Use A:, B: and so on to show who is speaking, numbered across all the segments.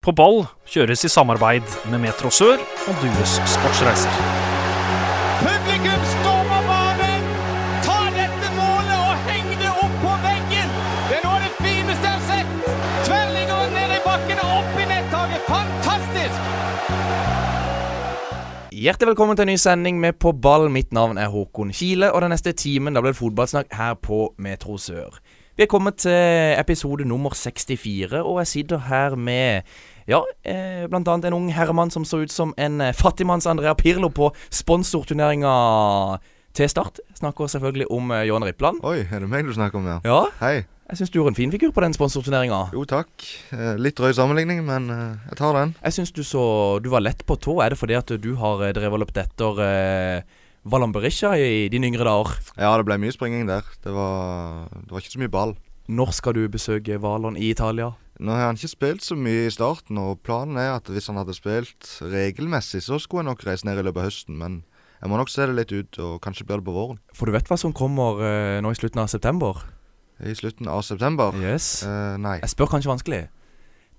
A: På ball kjøres i samarbeid med Metro Sør og Dues Sportsreiser.
B: Publikum stormer banen, tar dette målet og henger det opp på veggen. Det er noe av det fineste jeg har sett. Tverrliggeren ned i bakken og opp i nettaket. Fantastisk!
C: Hjertelig velkommen til en ny sending med På ball. Mitt navn er Håkon Kile, og den neste timen da blir det fotballsnakk her på Metro Sør. Vi er kommet til episode nummer 64, og jeg sitter her med ja, eh, blant annet en ung herremann som så ut som en eh, fattigmanns Andrea Pirlo på sponsorturneringa til Start. Snakker selvfølgelig om eh, Johan Rippland.
D: Oi, er det meg du snakker om, ja?
C: Ja,
D: Hei.
C: jeg syns du gjorde en fin figur på den sponsorturneringa.
D: Jo, takk. Eh, Litt drøy sammenligning, men eh, jeg tar den.
C: Jeg syns du så Du var lett på tå. Er det fordi at du har eh, drevet og løpt etter eh, Valamberisha i dine yngre dager?
D: Ja, det ble mye springing der. Det var, det var ikke så mye ball.
C: Når skal du besøke Valon i Italia?
D: Nå har han ikke spilt så mye i starten, og planen er at hvis han hadde spilt regelmessig, så skulle jeg nok reise ned i løpet av høsten, men jeg må nok se det litt ut, og kanskje blir det på våren.
C: For du vet hva som kommer eh, nå i slutten av september?
D: I slutten av september?
C: Yes.
D: Eh, nei.
C: Jeg spør kanskje vanskelig.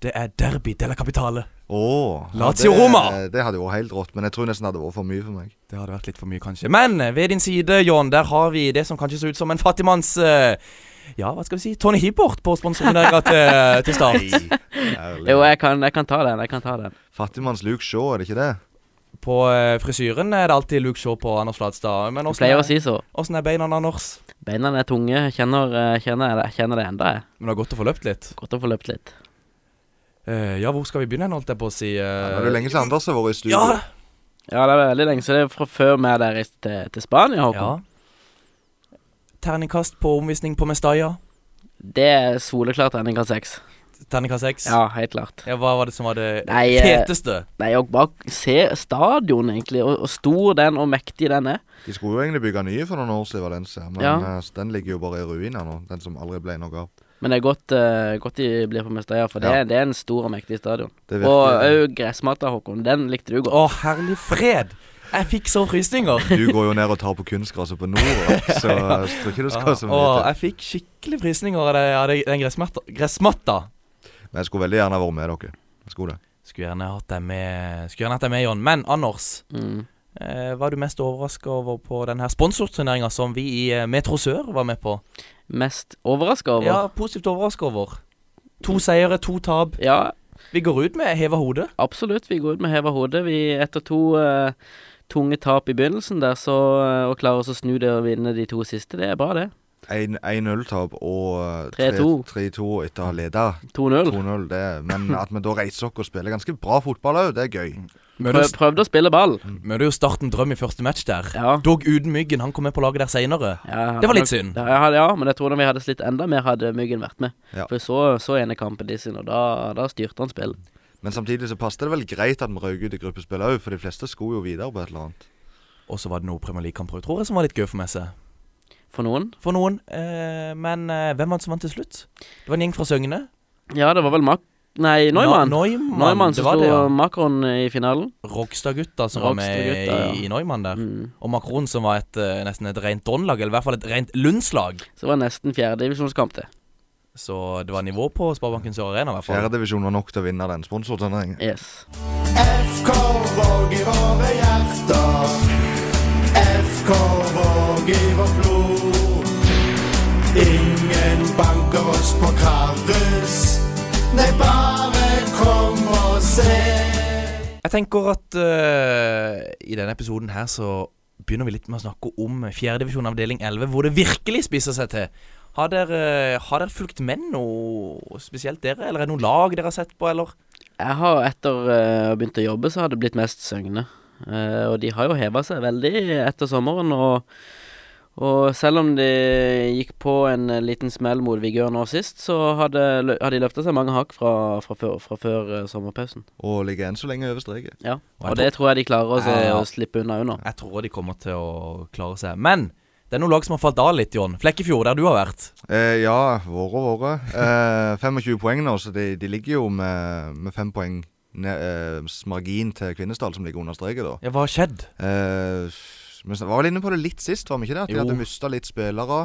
C: Det er derby della capitale.
D: Åh, ja,
C: Lazio
D: det-
C: Roma!
D: Det hadde vært helt rått, men jeg tror nesten det hadde vært for mye for meg.
C: Det hadde vært litt for mye, kanskje. Men eh, ved din side, John, der har vi det som kanskje så ut som en fattigmanns eh, Ja, hva skal vi si? Tony Hibbert på sponsorturneringa til, eh, til Start.
E: Jo, jeg kan, jeg kan ta den. jeg kan ta den
D: Fattigmanns Luke Shaw, er det ikke det?
C: På eh, frisyren er det alltid Luke Shaw på Anders Flatstad. Men
E: Du pleier å
C: åssen er,
E: si så.
C: åssen er beina, Anders?
E: Beina er tunge. Kjenner, eh, kjenner, jeg det- kjenner det enda jeg.
C: Men det har gått og forløpt litt.
E: Godt å få løpt litt.
C: Eh, ja, hvor skal vi begynne, holdt jeg på å si. Eh,
D: Nå er det jo lenge siden Anders har vært i studio.
C: Ja,
E: Ja, det er veldig lenge siden. Det er fra før vi der reiste til, til Spania, Håkon.
C: Ja. Terningkast på omvisning på Mestalla.
E: Det er soleklart terningkast seks.
C: Terningkast seks.
E: Ja, helt klart.
C: Ja, hva var det som var det
E: Nei, eh,
C: feteste?
E: Nei, og bare se stadion, egentlig. Og, og stor den, og mektig den er.
D: De skulle jo egentlig bygge nye for noen år siden i Valencia, men
E: Ja.
D: eh, så den ligger jo bare i ruiner nå. Den som aldri ble noe av.
E: Men det er godt, eh, godt de blir på Mestøya, for det,
D: Ja.
E: er- det er en stor og mektig stadion.
D: Det
E: Og eh,
D: virker-
E: òg gressmatta, Håkon. Den likte du godt.
C: Å, herlig fred! Jeg fikk så frysninger.
D: Du går jo ned og tar på kunstgresset på Nord, så eh, jeg tror ikke det skal
C: Å,
D: så mye til.
C: jeg fikk skikkelig frysninger av det- av det- den gressmatta. gressmatta.
D: Men jeg skulle veldig gjerne vært med dere. Jeg skulle det.
C: Skulle gjerne hatt deg med, Skulle gjerne hatt deg med, John. Men Anders,
E: Mm.
C: eh, var du mest overraska over på den her sponsorturneringa som vi i eh, Metro Sør var med på?
E: Mest overraska over.
C: Ja, positivt overraska over. To seire, to tap.
E: ja,
C: Vi går ut med heva hodet.
E: Absolutt, vi går ut med heva hodet. Vi etter to eh, tunge tap i begynnelsen der, så eh, å klare oss å snu det og vinne de to siste, det er bra, det.
D: 1-0-tap og eh,
E: 3-2.
D: 3-2 etter å ha leda
E: 2-0.
D: 2-0. det er- Men at vi da reiser oss og spiller ganske bra fotball òg, det er gøy.
C: Møter
E: Prøv,
C: jo-
E: prøvde å spille ball.
C: møter jo Starten Drøm i første match der.
E: Ja.
C: Dog uten Myggen. Han kom med på laget der seinere.
E: Ja,
C: Det var litt synd.
E: nok- Ja, jeg hadde, ja, men jeg tror når vi hadde slitt enda mer, hadde Myggen vært med.
D: Ja.
E: For så, så ene kampen de sin, og da, da styrte han spillet.
D: Men samtidig så passet det vel greit at vi røk ut i gruppespill òg, for de fleste skulle jo videre på et eller annet.
C: Og så var det noen Premier League-kamper jeg tror jeg som var litt gøy for meg å se.
E: For noen.
C: For noen. Eh, men eh, hvem var det som vant til slutt? Det var en gjeng fra Søgne.
E: Ja, det var vel Mak... Nei, Neumann.
C: No Neumann,
E: Neumann
C: det
E: som
C: var
E: slo um,
C: det, ja.
E: Macron i finalen.
C: Rogstad-gutta som var med i,
E: Rogstad-gutta, ja.
C: i Neumann der.
E: Mm.
C: Og Macron som var et, eh, nesten et rent Don-lag, eller i hvert fall et rent Lundslag.
E: Så var det nesten fjerdedivisjonskamp, det.
C: Så det var nivå på Sparebanken Sør Arena, i hvert fall.
D: Fjerdedivisjon var nok til å vinne den sponsorturneringen.
E: Yes.
F: FK Våg i våre hjerter. FK Våg i vårt blod. Ingen banker oss på Karus. Nei, bare kom og se.
C: Jeg tenker at eh, i denne episoden her så begynner vi litt med å snakke om fjerdedivisjon avdeling 11, hvor det virkelig spisser seg til. Har dere, har dere fulgt med noe spesielt dere, eller er det noen lag dere har sett på, eller?
E: Jeg har etter eh, å begynt å jobbe, så har det blitt mest Søgne. Eh, og de har jo heva seg veldig etter sommeren. Og, og selv om de gikk på en eh, liten smell mot Vigør nå sist, så hadde, lø- hadde de løfta seg mange hakk fra, fra før, fra før eh, sommerpausen.
D: Og ligger enn så lenge over streken.
E: Ja.
C: Og jeg
E: Og det tror jeg de klarer også,
C: Eh, ja.
E: å slippe unna unna.
C: Jeg tror de kommer til å klare seg. Men det er noen lag som har falt av litt, John. Flekkefjord, der du har vært.
D: Eh, ja, våre og våre. Eh, 25 poeng nå, så de, de ligger jo med, med fem poeng ne, eh, s- margin til Kvinesdal, som ligger under streket, da.
C: Ja, hva har skjedd?
D: Eh, vi sn- var vel inne på det litt sist, var vi ikke det? At de
C: Jo.
D: hadde mista litt spillere.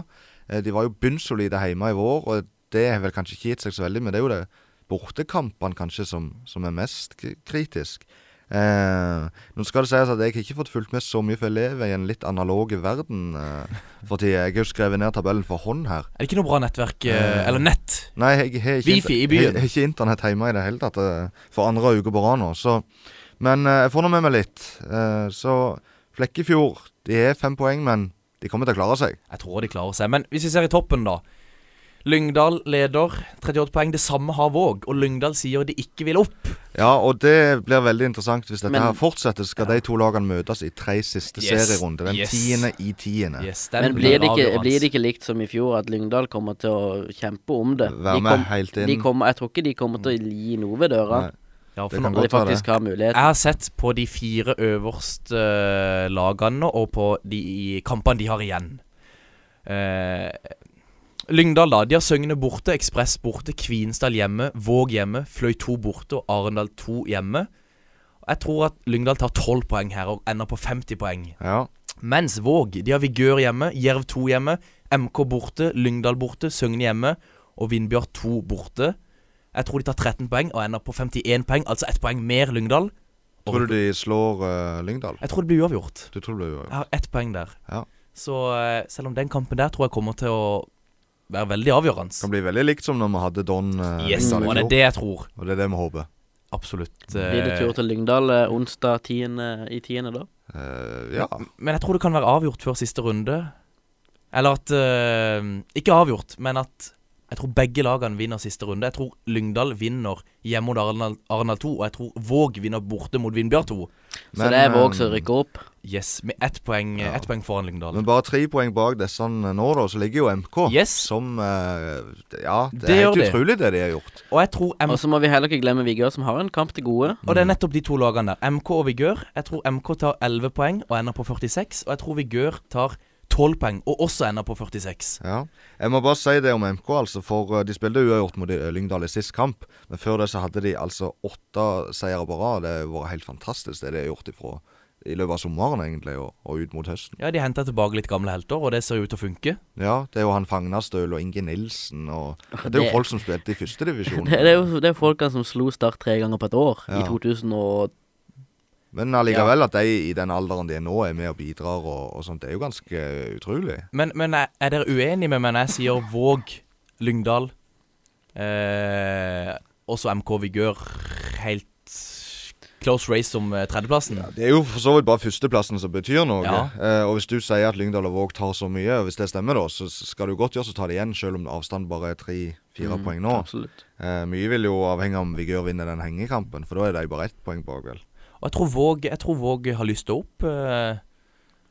D: Eh, de var jo bunnsolide hjemme i vår, og det har vel kanskje ikke gitt seg så veldig, men det er jo det bortekampene kanskje som, som er mest k- kritisk. Eh, nå skal det sies at jeg har ikke fått fulgt med så mye, for jeg lever i en litt analog verden eh, for tida. Jeg har jo skrevet ned tabellen for hånd her.
C: Er det ikke noe bra nettverk eh, Eller nett?
D: Nei, jeg har ikke,
C: Wifi i
D: jeg-
C: byen.
D: jeg har ikke internett hjemme i det hele tatt eh, for andre uke på rad nå. Så. Men eh, jeg får nå med meg litt. Eh, så Flekkefjord de har fem poeng, men de kommer til å klare seg.
C: Jeg tror de klarer seg. Men hvis vi ser i toppen, da. Lyngdal leder 38 poeng. Det samme har Våg. Og Lyngdal sier de ikke vil opp.
D: Ja, og det blir veldig interessant hvis dette
E: Men-
D: her fortsetter. Skal de to lagene møtes i tre siste
C: Yes,
D: serierunde. Den
C: yes.
D: tiende i tiende.
C: Yes, den
E: Men blir det, ikke,
C: avgjørende.
E: blir det ikke likt som i fjor, at Lyngdal kommer til å kjempe om det?
D: Være med helt inn.
E: De kommer, jeg tror ikke de kommer til å gi noe ved døra.
D: Nei,
C: ja, for
D: det kan
C: nå,
E: Når de
D: godt være det.
E: faktisk har mulighet.
C: Jeg har sett på de fire øverste eh, lagene nå, og på de kampene de har igjen. Eh, Lyngdal, da. De har Søgne borte, Ekspress borte, Kvinesdal hjemme, Våg hjemme, Fløy 2 borte og Arendal 2 hjemme. Jeg tror at Lyngdal tar 12 poeng her og ender på 50 poeng.
D: Ja.
C: Mens Våg de har Vigør hjemme, Jerv 2 hjemme, MK borte, Lyngdal borte, Søgne hjemme og Vindbjørn 2 borte. Jeg tror de tar 13 poeng og ender på 51 poeng, altså ett poeng mer Lyngdal. Og-
D: Tror du de slår eh, Lyngdal?
C: Jeg tror det blir uavgjort.
D: Du tror det blir
C: Jeg har ett poeng der.
D: Ja.
C: Så eh, selv om den kampen der tror jeg kommer til å være veldig avgjørende.
D: kan bli veldig likt som når vi hadde Don eh,
C: Yes,
D: Lyngdal
C: og det er
D: i fjor.
C: det jeg tror.
D: Og det er det vi håper.
C: Absolutt.
E: Blir det tur
C: eh,
E: til Lyngdal eh, onsdag 10. i 10. da?
D: Eh, ja.
C: Men jeg tror det kan være avgjort før siste runde. Eller at eh, Ikke avgjort, men at jeg tror begge lagene vinner siste runde. Jeg tror Lyngdal vinner hjemme mot Arendal Arendal 2, og jeg tror Våg vinner borte mot Vindbjørn 2.
E: Så det er Våg som
D: eh,
E: rykker opp.
C: Yes, med ett poeng,
D: Ja.
C: ett poeng foran Lyngdal.
D: Men bare tre poeng bak disse nå, da, så ligger jo MK.
C: Yes.
D: Som eh, Ja, det,
C: Det
D: er
C: gjør
D: helt
C: de.
D: utrolig det de har gjort.
C: Og jeg tror M
D: Altså,
E: Og så må vi heller ikke glemme Vigør, som har en kamp til gode.
C: Og
D: mm.
C: det er nettopp de to lagene der. MK og Vigør. Jeg tror MK tar 11 poeng og ender på 46. Og jeg tror Vigør tar 12 poeng og også ender på 46.
D: Ja. Jeg må bare si det om MK, altså, for eh, de spilte uavgjort mot eh, Lyngdal i sist kamp. Men før det så hadde de altså åtte seire på rad. Det har vært helt fantastisk, det de har gjort ifra i løpet av sommeren, egentlig, og, og ut mot høsten.
C: Ja, de henter tilbake litt gamle helter, og det ser jo ut til å funke.
D: Ja, det er jo han Fagnastøl og Inge Nilsen og Det er jo
E: det-
D: folk som spilte i førstedivisjon.
E: Det, det er jo det er folkene som slo Start tre ganger på et år,
D: Ja.
E: i 2012.
D: Men allikevel at de i den alderen de er nå, er med og bidrar og, og sånt, det er jo ganske eh, utrolig.
C: Men, men er er dere uenige med meg når jeg sier Våg, Lyngdal eh, Også MK Vigør helt close race om eh, tredjeplassen?
D: Det er jo for så vidt bare førsteplassen som betyr noe.
C: Ja.
D: Eh, og hvis du sier at Lyngdal og Våg tar så mye, og hvis det stemmer da, så skal du godt gjøre så ta det igjen, selv om avstanden bare er tre-fire
C: Mm,
D: poeng nå.
E: Absolutt.
D: Eh, mye vil jo avhenge om Vigør vinner den hengekampen, for da er de bare ett poeng bak, vel.
C: Og jeg tror Våg, jeg tror Våg har lyst til å opp. Eh,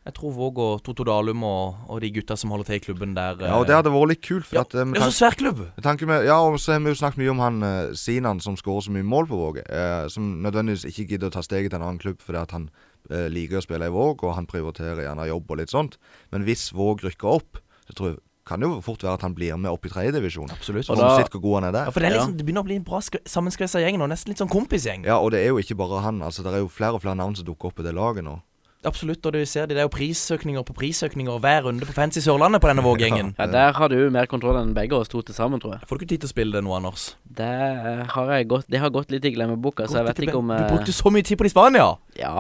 C: jeg tror Våg og Toto Dalum og, og de gutta som holder til i klubben der eh,
D: Ja, og det hadde vært litt kult, for
C: ja,
D: at eh, med
C: Det er så svær klubb!
D: Med tanke med, ja, og så har vi jo snakket mye om han eh, Sinan som skårer så mye mål på Våg, eh, som nødvendigvis ikke gidder å ta steget til en annen klubb fordi at han eh, liker å spille i Våg, og han prioriterer gjerne jobb og litt sånt. Men hvis Våg rykker opp, så tror jeg, kan det jo fort være at han blir med opp i tredjedivisjon.
C: Absolutt.
D: Og
E: Og da-
D: sett hvor god han er
C: Ja,
D: der.
C: for det, er liksom, det begynner å bli en bra sk- sammenskvessa gjeng nå. Nesten litt sånn kompisgjeng.
D: Ja, og det er jo ikke bare han. altså Det er jo flere og flere navn som dukker opp i det laget nå.
C: Absolutt. Og du ser det, det er jo prisøkninger på prisøkninger hver runde på Fancy Sørlandet på denne Våg-gjengen.
D: Eh.
E: Ja, Der har du mer kontroll enn begge oss to til sammen, tror jeg.
C: Får du ikke tid til å spille det nå, Anders?
E: Det, eh, har jeg gått, det har gått litt i glemmeboka, så jeg vet ikke om
C: Du
E: eh,
C: brukte så mye tid på det i Spania!
E: Ja,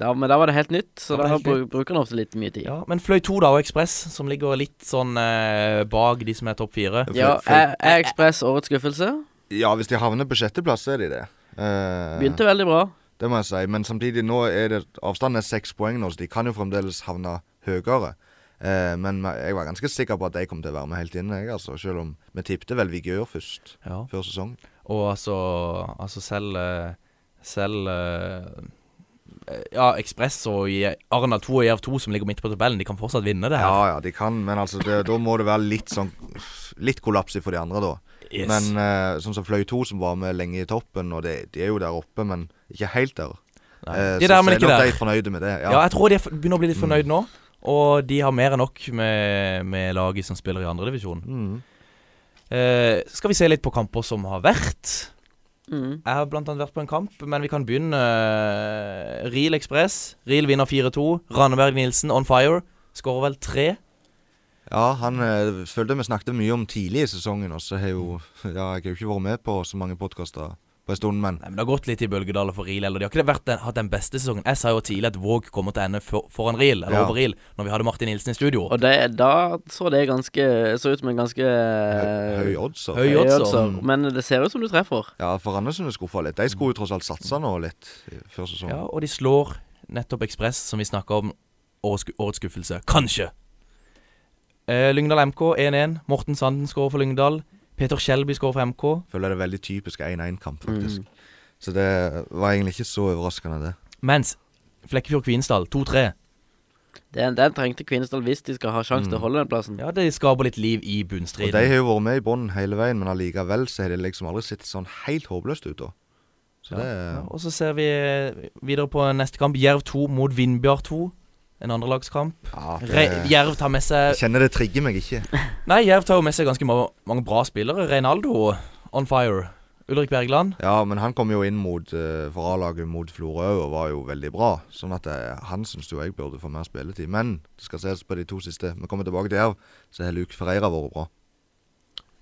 E: da, men da var det helt nytt,
C: Da
E: så
C: var
E: da,
C: det helt
E: bru- bruker en ofte litt mye tid. Ja,
C: Ja, Men Fløy 2 da, og Ekspress, som ligger litt sånn eh, bak de som er topp fire.
D: for-
E: er, er Ekspress eh, årets skuffelse?
D: Ja, hvis de havner på sjetteplass, så er de det. Eh,
E: Begynte veldig bra.
D: Det må jeg si. Men samtidig, nå er det avstanden er seks poeng nå, så de kan jo fremdeles havne høyere. Eh, men me- jeg var ganske sikker på at de kom til å være med helt inn, jeg, altså. Selv om vi tippte vel Vigør først,
C: Ja.
D: før sesong.
C: Og altså, altså selv eh, Selv eh, Ja, Ekspress og i- Arna 2 og Jerv 2 som ligger midt på tabellen, de kan fortsatt vinne det her.
D: Ja ja, de kan, men altså, det, da må det være litt sånn Litt kollaps for de andre, da.
C: Yes.
D: Men eh, sånn som Fløy 2, som var med lenge i toppen, og de, de er jo der oppe, men ikke helt der.
C: Nei. De
D: Eh,
C: er
D: så-
C: der, men
D: så
C: ikke
D: nok
C: der.
D: de fornøyde med det. Ja.
C: Ja, jeg tror de er f- begynner å bli
D: Mm.
C: litt fornøyd nå. Og de har mer enn nok med, med laget som spiller i andredivisjon.
D: Mm.
C: Eh, skal vi se litt på kamper som har vært?
E: Mm.
C: Jeg har blant annet vært på en kamp, men vi kan begynne. eh, Riel Ekspress. Riel vinner 4-2. Randeberg Nilsen on fire. Skårer vel tre.
D: Ja, han eh, følte vi snakket mye om tidlig i sesongen, og så har jo Ja, jeg har jo ikke vært med på så mange podkaster på en stund, men
C: Nei, men Det har gått litt i bølgedaler for Riel. Eller de har ikke vært den, hatt den beste sesongen. Jeg sa jo tidlig at Våg kommer til å ende for, foran Riel, eller
D: Ja.
C: over Riel, når vi hadde Martin Nilsen i studio.
E: Og det, da så det ganske Så ut som en ganske
D: eh, høy
E: Høy
D: odds. altså.
C: Eh, høy odds,
E: odds, Men det ser ut som du treffer.
D: Ja, for Andersen er skuffa litt. De skulle jo tross alt satse nå litt i- før
C: Ja,
D: sesongen.
C: og de slår nettopp Ekspress, som vi snakka om. Årets, sku- årets skuffelse. Kanskje. Eh, Lyngdal MK 1-1. Morten Sanden skårer for Lyngdal. Peter Skjelby skårer for MK.
D: Føler det er veldig typisk 1-1-kamp,
C: Mm.
D: faktisk. Så det var egentlig ikke så overraskende, det.
C: Mens Flekkefjord Kvinesdal 2-3.
E: Den, den trengte Kvinesdal hvis de skal ha sjanse
D: Mm.
E: til å holde den plassen.
C: Ja, det skaper litt liv i
D: Og de
C: bunnstriden.
D: har jo vært med i bånn hele veien, men allikevel så har de liksom aldri sett sånn helt håpløst ut, da. Så det
C: Ja, og så ser vi eh, videre på neste kamp. Jerv 2 mot Vindbjart 2. En andrelagskamp.
D: Ja,
C: Re
D: det
C: Jerv tar med seg
D: jeg kjenner det trigger meg ikke.
C: Nei, Jerv tar jo med seg ganske ma mange bra spillere. Reinaldo on fire. Ulrik Bergland.
D: Ja, men han kom jo inn mot eh, for A-laget mot Florø og var jo veldig bra. Sånn at eh, han syns jo jeg burde få mer spilletid. Men det skal ses på de to siste. Vi kommer tilbake til Jerv, så har Luke Ferreira vært bra.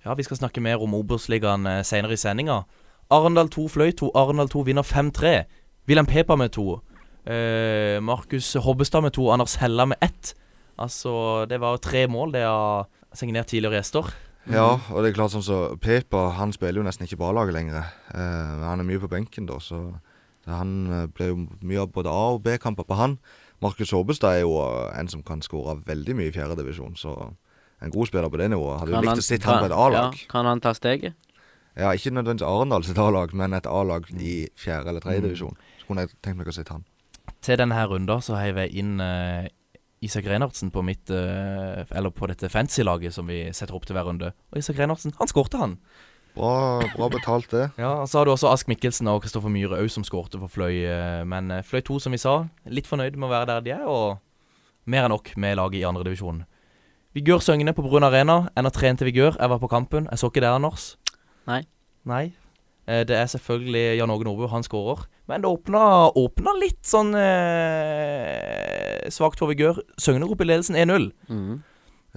C: Ja, vi skal snakke mer om Obos-ligaen eh, senere i sendinga. Arendal 2 fløy 2. Arendal 2 vinner 5-3. Wilhelm Pepa med 2. Eh, Markus Hobbestad med 2. Anders Hella med 1. Altså, det var tre mål, det av signert tidligere gjester.
D: Ja, og det er klart sånn så Pepa han spiller jo nesten ikke på A-laget lenger. Eh, men han er mye på benken, da, så så han eh, ble jo mye av både A- og B-kamper på han. Markus Håbestad er jo eh, en som kan skåre veldig mye i fjerdedivisjon, så en god spiller på det nivået. Hadde jo likt å sitte han på et A-lag.
E: ja, kan han ta steget?
D: Ja, ikke nødvendigvis Arendal sitt A-lag, men et A-lag i
C: Mm.
D: fjerde eller tredje divisjon. Så kunne jeg tenkt meg å sitte han.
C: Til denne her runden så heiv jeg inn eh, Isak Reinhardsen på mitt eh, Eller på dette fancy-laget som vi setter opp til hver runde. Og Isak Reinhardsen, han skårte, han.
D: Bra, bra betalt, det.
C: Ja, og Så har du også Ask Mikkelsen og Kristoffer Myhre òg som skårte for Fløy. eh, Men eh, Fløy 2, som vi sa, litt fornøyd med å være der de er, og mer enn nok med laget i andredivisjon. Vigør Søgne på Brun Arena. Ennå trente Vigør. Jeg var på kampen. Jeg så ikke det, Anders.
E: Nei.
C: Nei. Eh, Det er selvfølgelig Jan Åge Nordbu. Han skårer. Men det åpna, åpna litt sånn eh, svakt for Vigør. Søgne går opp i ledelsen 1-0.
E: Mhm.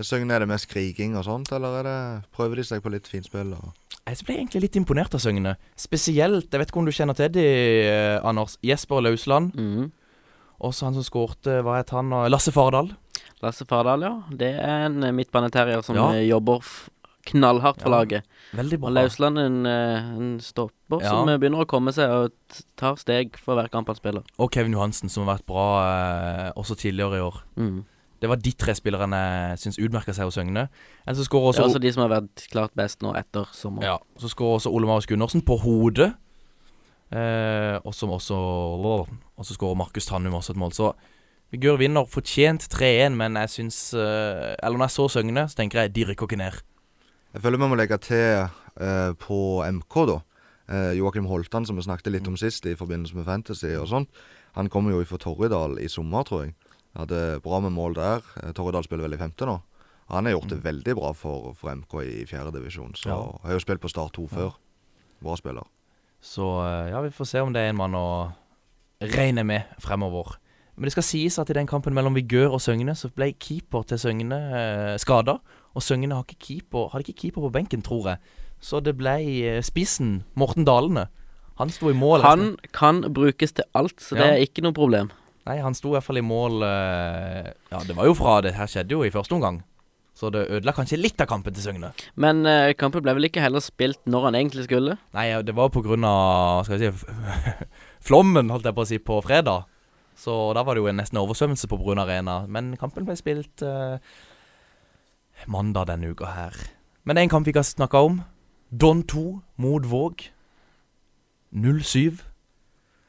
D: Søgne er det mest skriking og sånt, eller er det, prøver de seg på litt finspill? Og...
C: Jeg ble egentlig litt imponert av Søgne. Spesielt, jeg vet ikke om du kjenner til de, eh, Anders. Jesper Lausland.
E: Mhm.
C: Også han som skårte, hva het han? da? Lasse Fardal.
E: Lasse Fardal, ja. Det er en eh, midtbaneterrier som
C: Ja.
E: eh, jobber f knallhardt for
C: Ja,
E: laget.
C: Veldig
E: Og Lausland er en, eh, en stopper
C: Ja.
E: som eh, begynner å komme seg og t- tar steg for hver kamp han spiller.
C: Og Kevin Johansen, som har vært bra eh, også tidligere i år.
E: Mhm.
C: Det var de tre spillerne jeg syns utmerka seg hos Søgne. En så skårer
E: Det er altså-
C: også,
E: også de som har vært klart best nå etter sommeren.
C: ja, så skårer også Ole Marius Gundersen på hodet. Eh, og som også Og så skårer Markus Tannum også et mål. Så Vigør vinner fortjent 3-1, men jeg syns eh, Eller når jeg så Søgne, så tenker jeg de rykker ikke ned.
D: Jeg føler vi må legge til eh, på MK, da. Eh, Joakim Holtan, som vi snakket
C: Mm.
D: litt om sist i forbindelse med Fantasy og sånt, han kommer jo fra Torridal i sommer, tror jeg. Hadde bra med mål der. Eh, Torridal spiller vel i femte nå. Han har gjort det veldig bra for, for MK i fjerde divisjon, så
C: Mm. Ja.
D: har jo spilt på Start 2 før. Bra spiller.
C: Så eh, ja, vi får se om det er en mann å regne med fremover. Men det skal sies at i den kampen mellom Vigør og Søgne, så ble keeper til Søgne eh, skada. Og Søgne har ikke keeper, hadde ikke keeper på benken, tror jeg. Så det ble eh, spissen, Morten Dalene. Han sto i mål. altså.
E: Han kan brukes til alt, så det
C: Ja.
E: er ikke noe problem.
C: Nei, han sto i hvert fall i mål eh, Ja, det var jo fra det her skjedde jo i første omgang. Så det ødela kanskje litt av kampen til Søgne.
E: Men eh, kampen ble vel ikke heller spilt når han egentlig skulle.
C: Nei, det var på grunn av skal jeg si, flommen, holdt jeg på å si, på fredag. Så da var det jo en nesten oversvømmelse på Brun Arena. Men kampen ble spilt eh, mandag denne uka her. Men det er en kamp vi ikke har snakka om. Don 2 mot Våg. 07.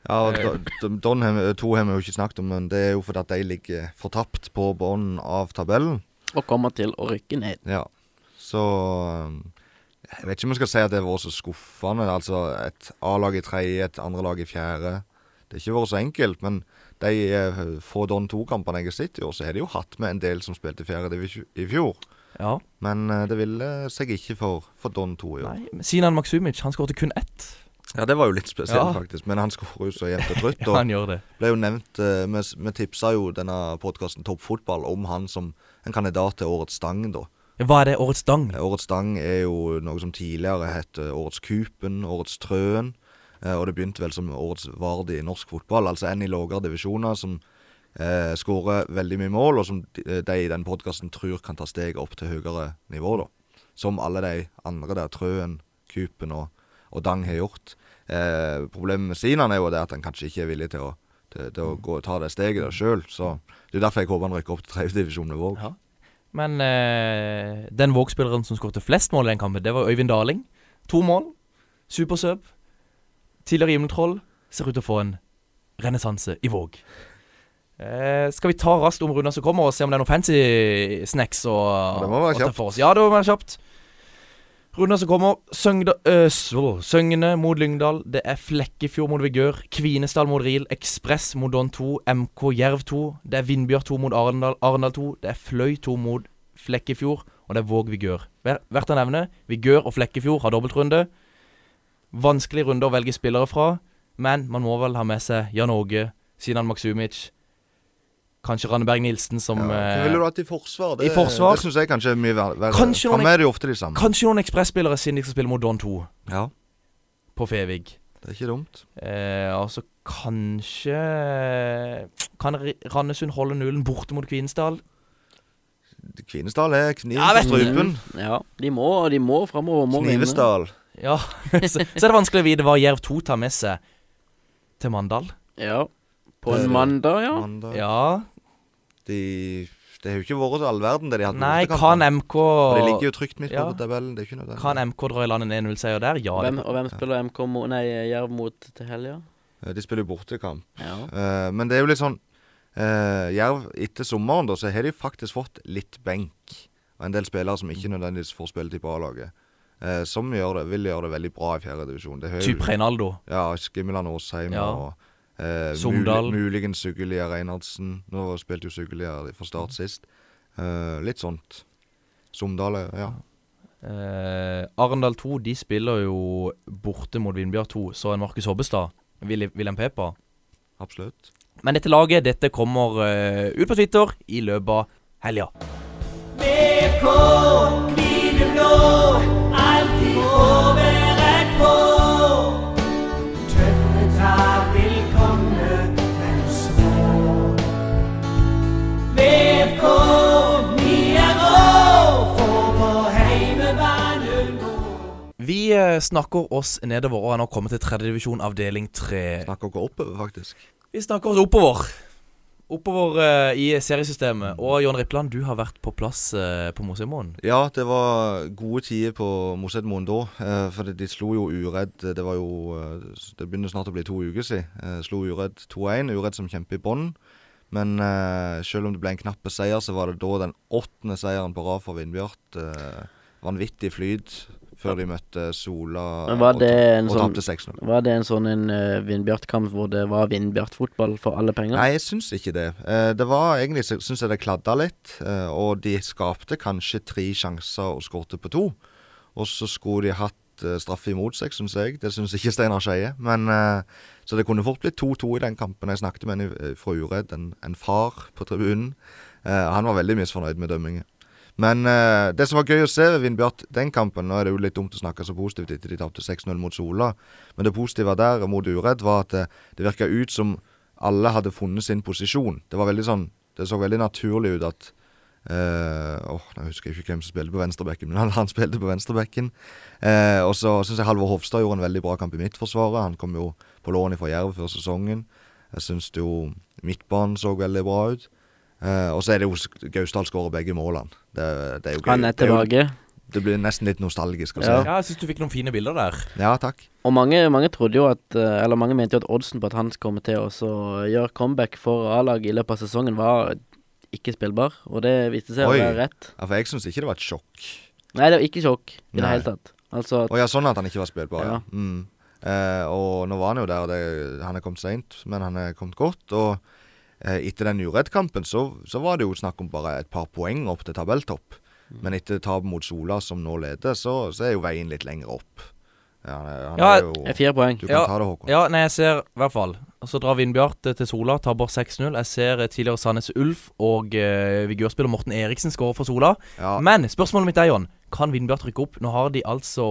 D: Ja, og Do- Do- Don har vi- eh, to har vi jo ikke snakket om, men det er jo fordi at de ligger eh, fortapt på bunnen av tabellen.
E: Og kommer til å rykke ned.
D: Ja. Så um, Jeg vet ikke om jeg skal si at det har vært så skuffende. Altså et A-lag i tredje, et andre lag i fjerde. Det har ikke vært så enkelt, men de eh, få Don 2-kampene jeg har sett i år, så har de jo hatt med en del som spilte i fjerde divisjon i fjor.
C: Ja.
D: Men eh, det ville seg ikke for, for Don 2 i år.
C: Nei, men Sinan Maksumic, han skåret kun ett.
D: Ja, det var jo litt spesielt,
C: Ja.
D: faktisk. Men han skårer jo så jevnt og trutt. og-
C: Han gjør det.
D: ble jo nevnt eh, Vi, vi tipsa jo denne podkasten Toppfotball om han som en kandidat til Årets stang, da.
C: Hva er det? Årets stang?
D: Eh, Årets stang er jo noe som tidligere het eh, Årets Kupen, Årets Trøen. eh, Og det begynte vel som Årets Vardi i norsk fotball, altså en i lavere divisjoner som eh, skårer veldig mye mål, og som de, de i den podkasten tror kan ta steget opp til høyere nivå, da. Som alle de andre der, Trøen, Kupen og, og Dang har gjort. Eh, problemet med Sinan er jo det at han kanskje ikke er villig til å, til, til å gå, ta det steget der sjøl. Så det er derfor jeg håper han rykker opp til tredjedivisjon med Våg.
C: Ja. Men eh, den Våg-spilleren som skåret flest mål i den kampen, det var Øyvind Daling. To mål. Supersub. Tidligere Himmeltroll. Ser ut til å få en renessanse i Våg. Eh, skal vi ta raskt om runden som kommer, og se om det er noen fancy snacks? Og,
D: det må være
C: og ta
D: kjapt.
C: for oss. Ja, det må være kjapt. Runden som kommer. Søngda, øh, så- Søgne mot Lyngdal. Det er Flekkefjord mot Vigør. Kvinesdal mot Ril. Ekspress mot Don 2. MK Jerv 2. Det er Vindbjørg 2 mot Arendal, Arendal 2. Det er Fløy 2 mot Flekkefjord. Og det er Våg Vigør. Ver- Verdt å nevne. Vigør og Flekkefjord har dobbeltrunde. Vanskelig runde å velge spillere fra, men man må vel ha med seg Jan Åge, Sinan Maksumic, kanskje Randeberg Nilsen som
D: Ja. Hvem
C: eh,
D: ville du hatt i forsvar? Det,
C: I forsvar?
D: det syns jeg kanskje er mye ver- verre.
C: Kanskje noen-
D: For meg er det jo ofte de samme.
C: Kanskje noen ekspresspillere siden de skal spille mot Don 2
D: Ja,
C: på Fevig.
D: det er ikke dumt.
C: Eh, altså kanskje Kan R- Randesund holde nullen borte mot Kvinesdal?
D: Kvinesdal er kniven
C: Ja,
D: på
C: vet du.
D: strupen.
E: Mm. Ja, de må, de må framover. Må vinne.
D: Knivesdal.
C: Ja, så, så er det vanskelig å vite hva Jerv 2 tar med seg til Mandal.
E: Ja. På
D: Det-
E: en mandag, ja.
D: Eh, Mandag.
C: Ja,
D: De, det har jo ikke vært all verden, det de har hatt. på
C: Nei,
D: bortekampen.
C: kan MK
D: Og de ligger jo trygt midt på
C: Ja.
D: tabellen. Det er ikke noe
C: Kan MK dra i land en 1-0-seier der? Ja.
E: Hvem,
C: Det,
E: og hvem spiller MK mot Nei, Jerv mot til helga?
D: Eh, De spiller jo bortekamp.
E: Ja.
D: Eh, men det er jo litt sånn eh, Jerv etter sommeren, da, så har de faktisk fått litt benk. Og en del spillere som ikke nødvendigvis får spilletid på A-laget. Eh, som gjør det, vil gjøre det veldig bra i fjerde divisjon. Det har jo-
C: typ Reinaldo.
D: Ja, Skimmeland Aasheim
C: Ja.
D: og eh,
C: Sogndal.
D: muli- Muligens Sugelia Reinhardsen. Nå spilte jo Sugelia fra start sist. Eh, litt sånt. Somdal, er- ja.
C: Eh, Arendal 2 de spiller jo borte mot Vindbjørg 2, så en Markus Hobbestad. Willi- William Pepa.
D: Absolutt.
C: Men dette laget dette kommer eh, ut på Twitter i løpet av helga.
G: BK hvile blå, alltid overrett på. Tøffe tak vil komme, men så BK, vi er rå, for på heimebane nå.
C: Vi eh, snakker oss nedover og har nå kommet til tredjedivisjon avdeling 3.
D: Snakker ikke oppover, faktisk.
C: Vi snakker oss oppover. Oppover eh, i seriesystemet. Og John Rippland, du har vært på plass eh, på Mosheimoen.
D: Ja, det var gode tider på Mosedmoen da. eh, For de slo jo Uredd Det var jo eh, Det begynner snart å bli to uker siden. eh, Slo Uredd 2-1. Uredd som kjemper i bånn. Men eh, selv om det ble en knapp seier, så var det da den åttende seieren på rad for Vindbjart. eh, Vanvittig flyt før de møtte Sola
E: Men var
D: og
E: det
D: tap-
E: en
D: og
E: sånn-
D: tapte 6-0.
E: Var det en sånn en eh, Vindbjart-kamp hvor det var Vindbjart-fotball for alle penger?
D: Nei, jeg syns ikke det. Eh, det var egentlig så syns jeg det kladda litt. eh, og de skapte kanskje tre sjanser og skårte på to. Og så skulle de hatt eh, straffe imot seg, syns jeg. Det syns ikke Steinar Skeie. Men eh, så det kunne fort blitt 2-2 i den kampen. Jeg snakket med en i- eh, fra Uredd, en, en far på tribunen. Eh, han var veldig misfornøyd med dømmingen. Men eh, det som var gøy å se ved Vindbjart den kampen Nå er det jo litt dumt å snakke så positivt etter de tapte 6-0 mot Sola, men det positive der mot Uredd var at det, det virka ut som alle hadde funnet sin posisjon. Det var veldig sånn Det så veldig naturlig ut at eh, Åh, nå husker jeg ikke hvem som spilte på venstrebekken, men han, han spilte på venstrebekken. Eh, og så syns jeg Halvor Hofstad gjorde en veldig bra kamp i midtforsvaret. Han kom jo på lån fra Jerv før sesongen. Jeg syns jo midtbanen så veldig bra ut. Eh, og så er det jo s- Gausdal skårer begge målene. Det, det er jo gøy.
E: Han er
D: Det er jo-
E: tilbake.
D: det blir nesten litt nostalgisk å se.
E: Ja.
D: Ja,
C: Ja, jeg syns du fikk noen fine bilder der.
D: takk.
E: Og mange, mange trodde jo at eh, Eller mange mente jo at oddsen på at han kommer til å så gjøre comeback for A-laget i løpet av sesongen, var ikke spillbar. Og det viste seg
D: Oi.
E: å være rett.
D: Ja, for jeg syns ikke det var et sjokk.
E: Nei, det var ikke sjokk i det
D: Nei.
E: hele tatt. Altså at
D: Å ja, sånn at han ikke var spillbar, ja.
E: Ja.
D: Mm. Eh, og nå var han jo der, og det, han er kommet seint, men han er kommet godt. Og eh, etter den Uredd-kampen så, så var det jo snakk om bare et par poeng opp til tabelltopp.
C: Mm.
D: Men etter tapet mot Sola, som nå leder, så, så er jo veien litt lenger opp. Ja, han er, han
C: Ja,
D: er jo
E: er fire poeng.
D: Du kan
C: ja,
D: ta det, Håkon.
C: Ja, nei, jeg ser i hvert fall Og Så drar Vindbjart eh, til Sola, taper 6-0. Jeg ser eh, tidligere Sandnes Ulf og eh, vigørspiller Morten Eriksen skåre for Sola.
D: Ja,
C: Men spørsmålet mitt er, Jon, kan Vindbjart rykke opp? Nå har de altså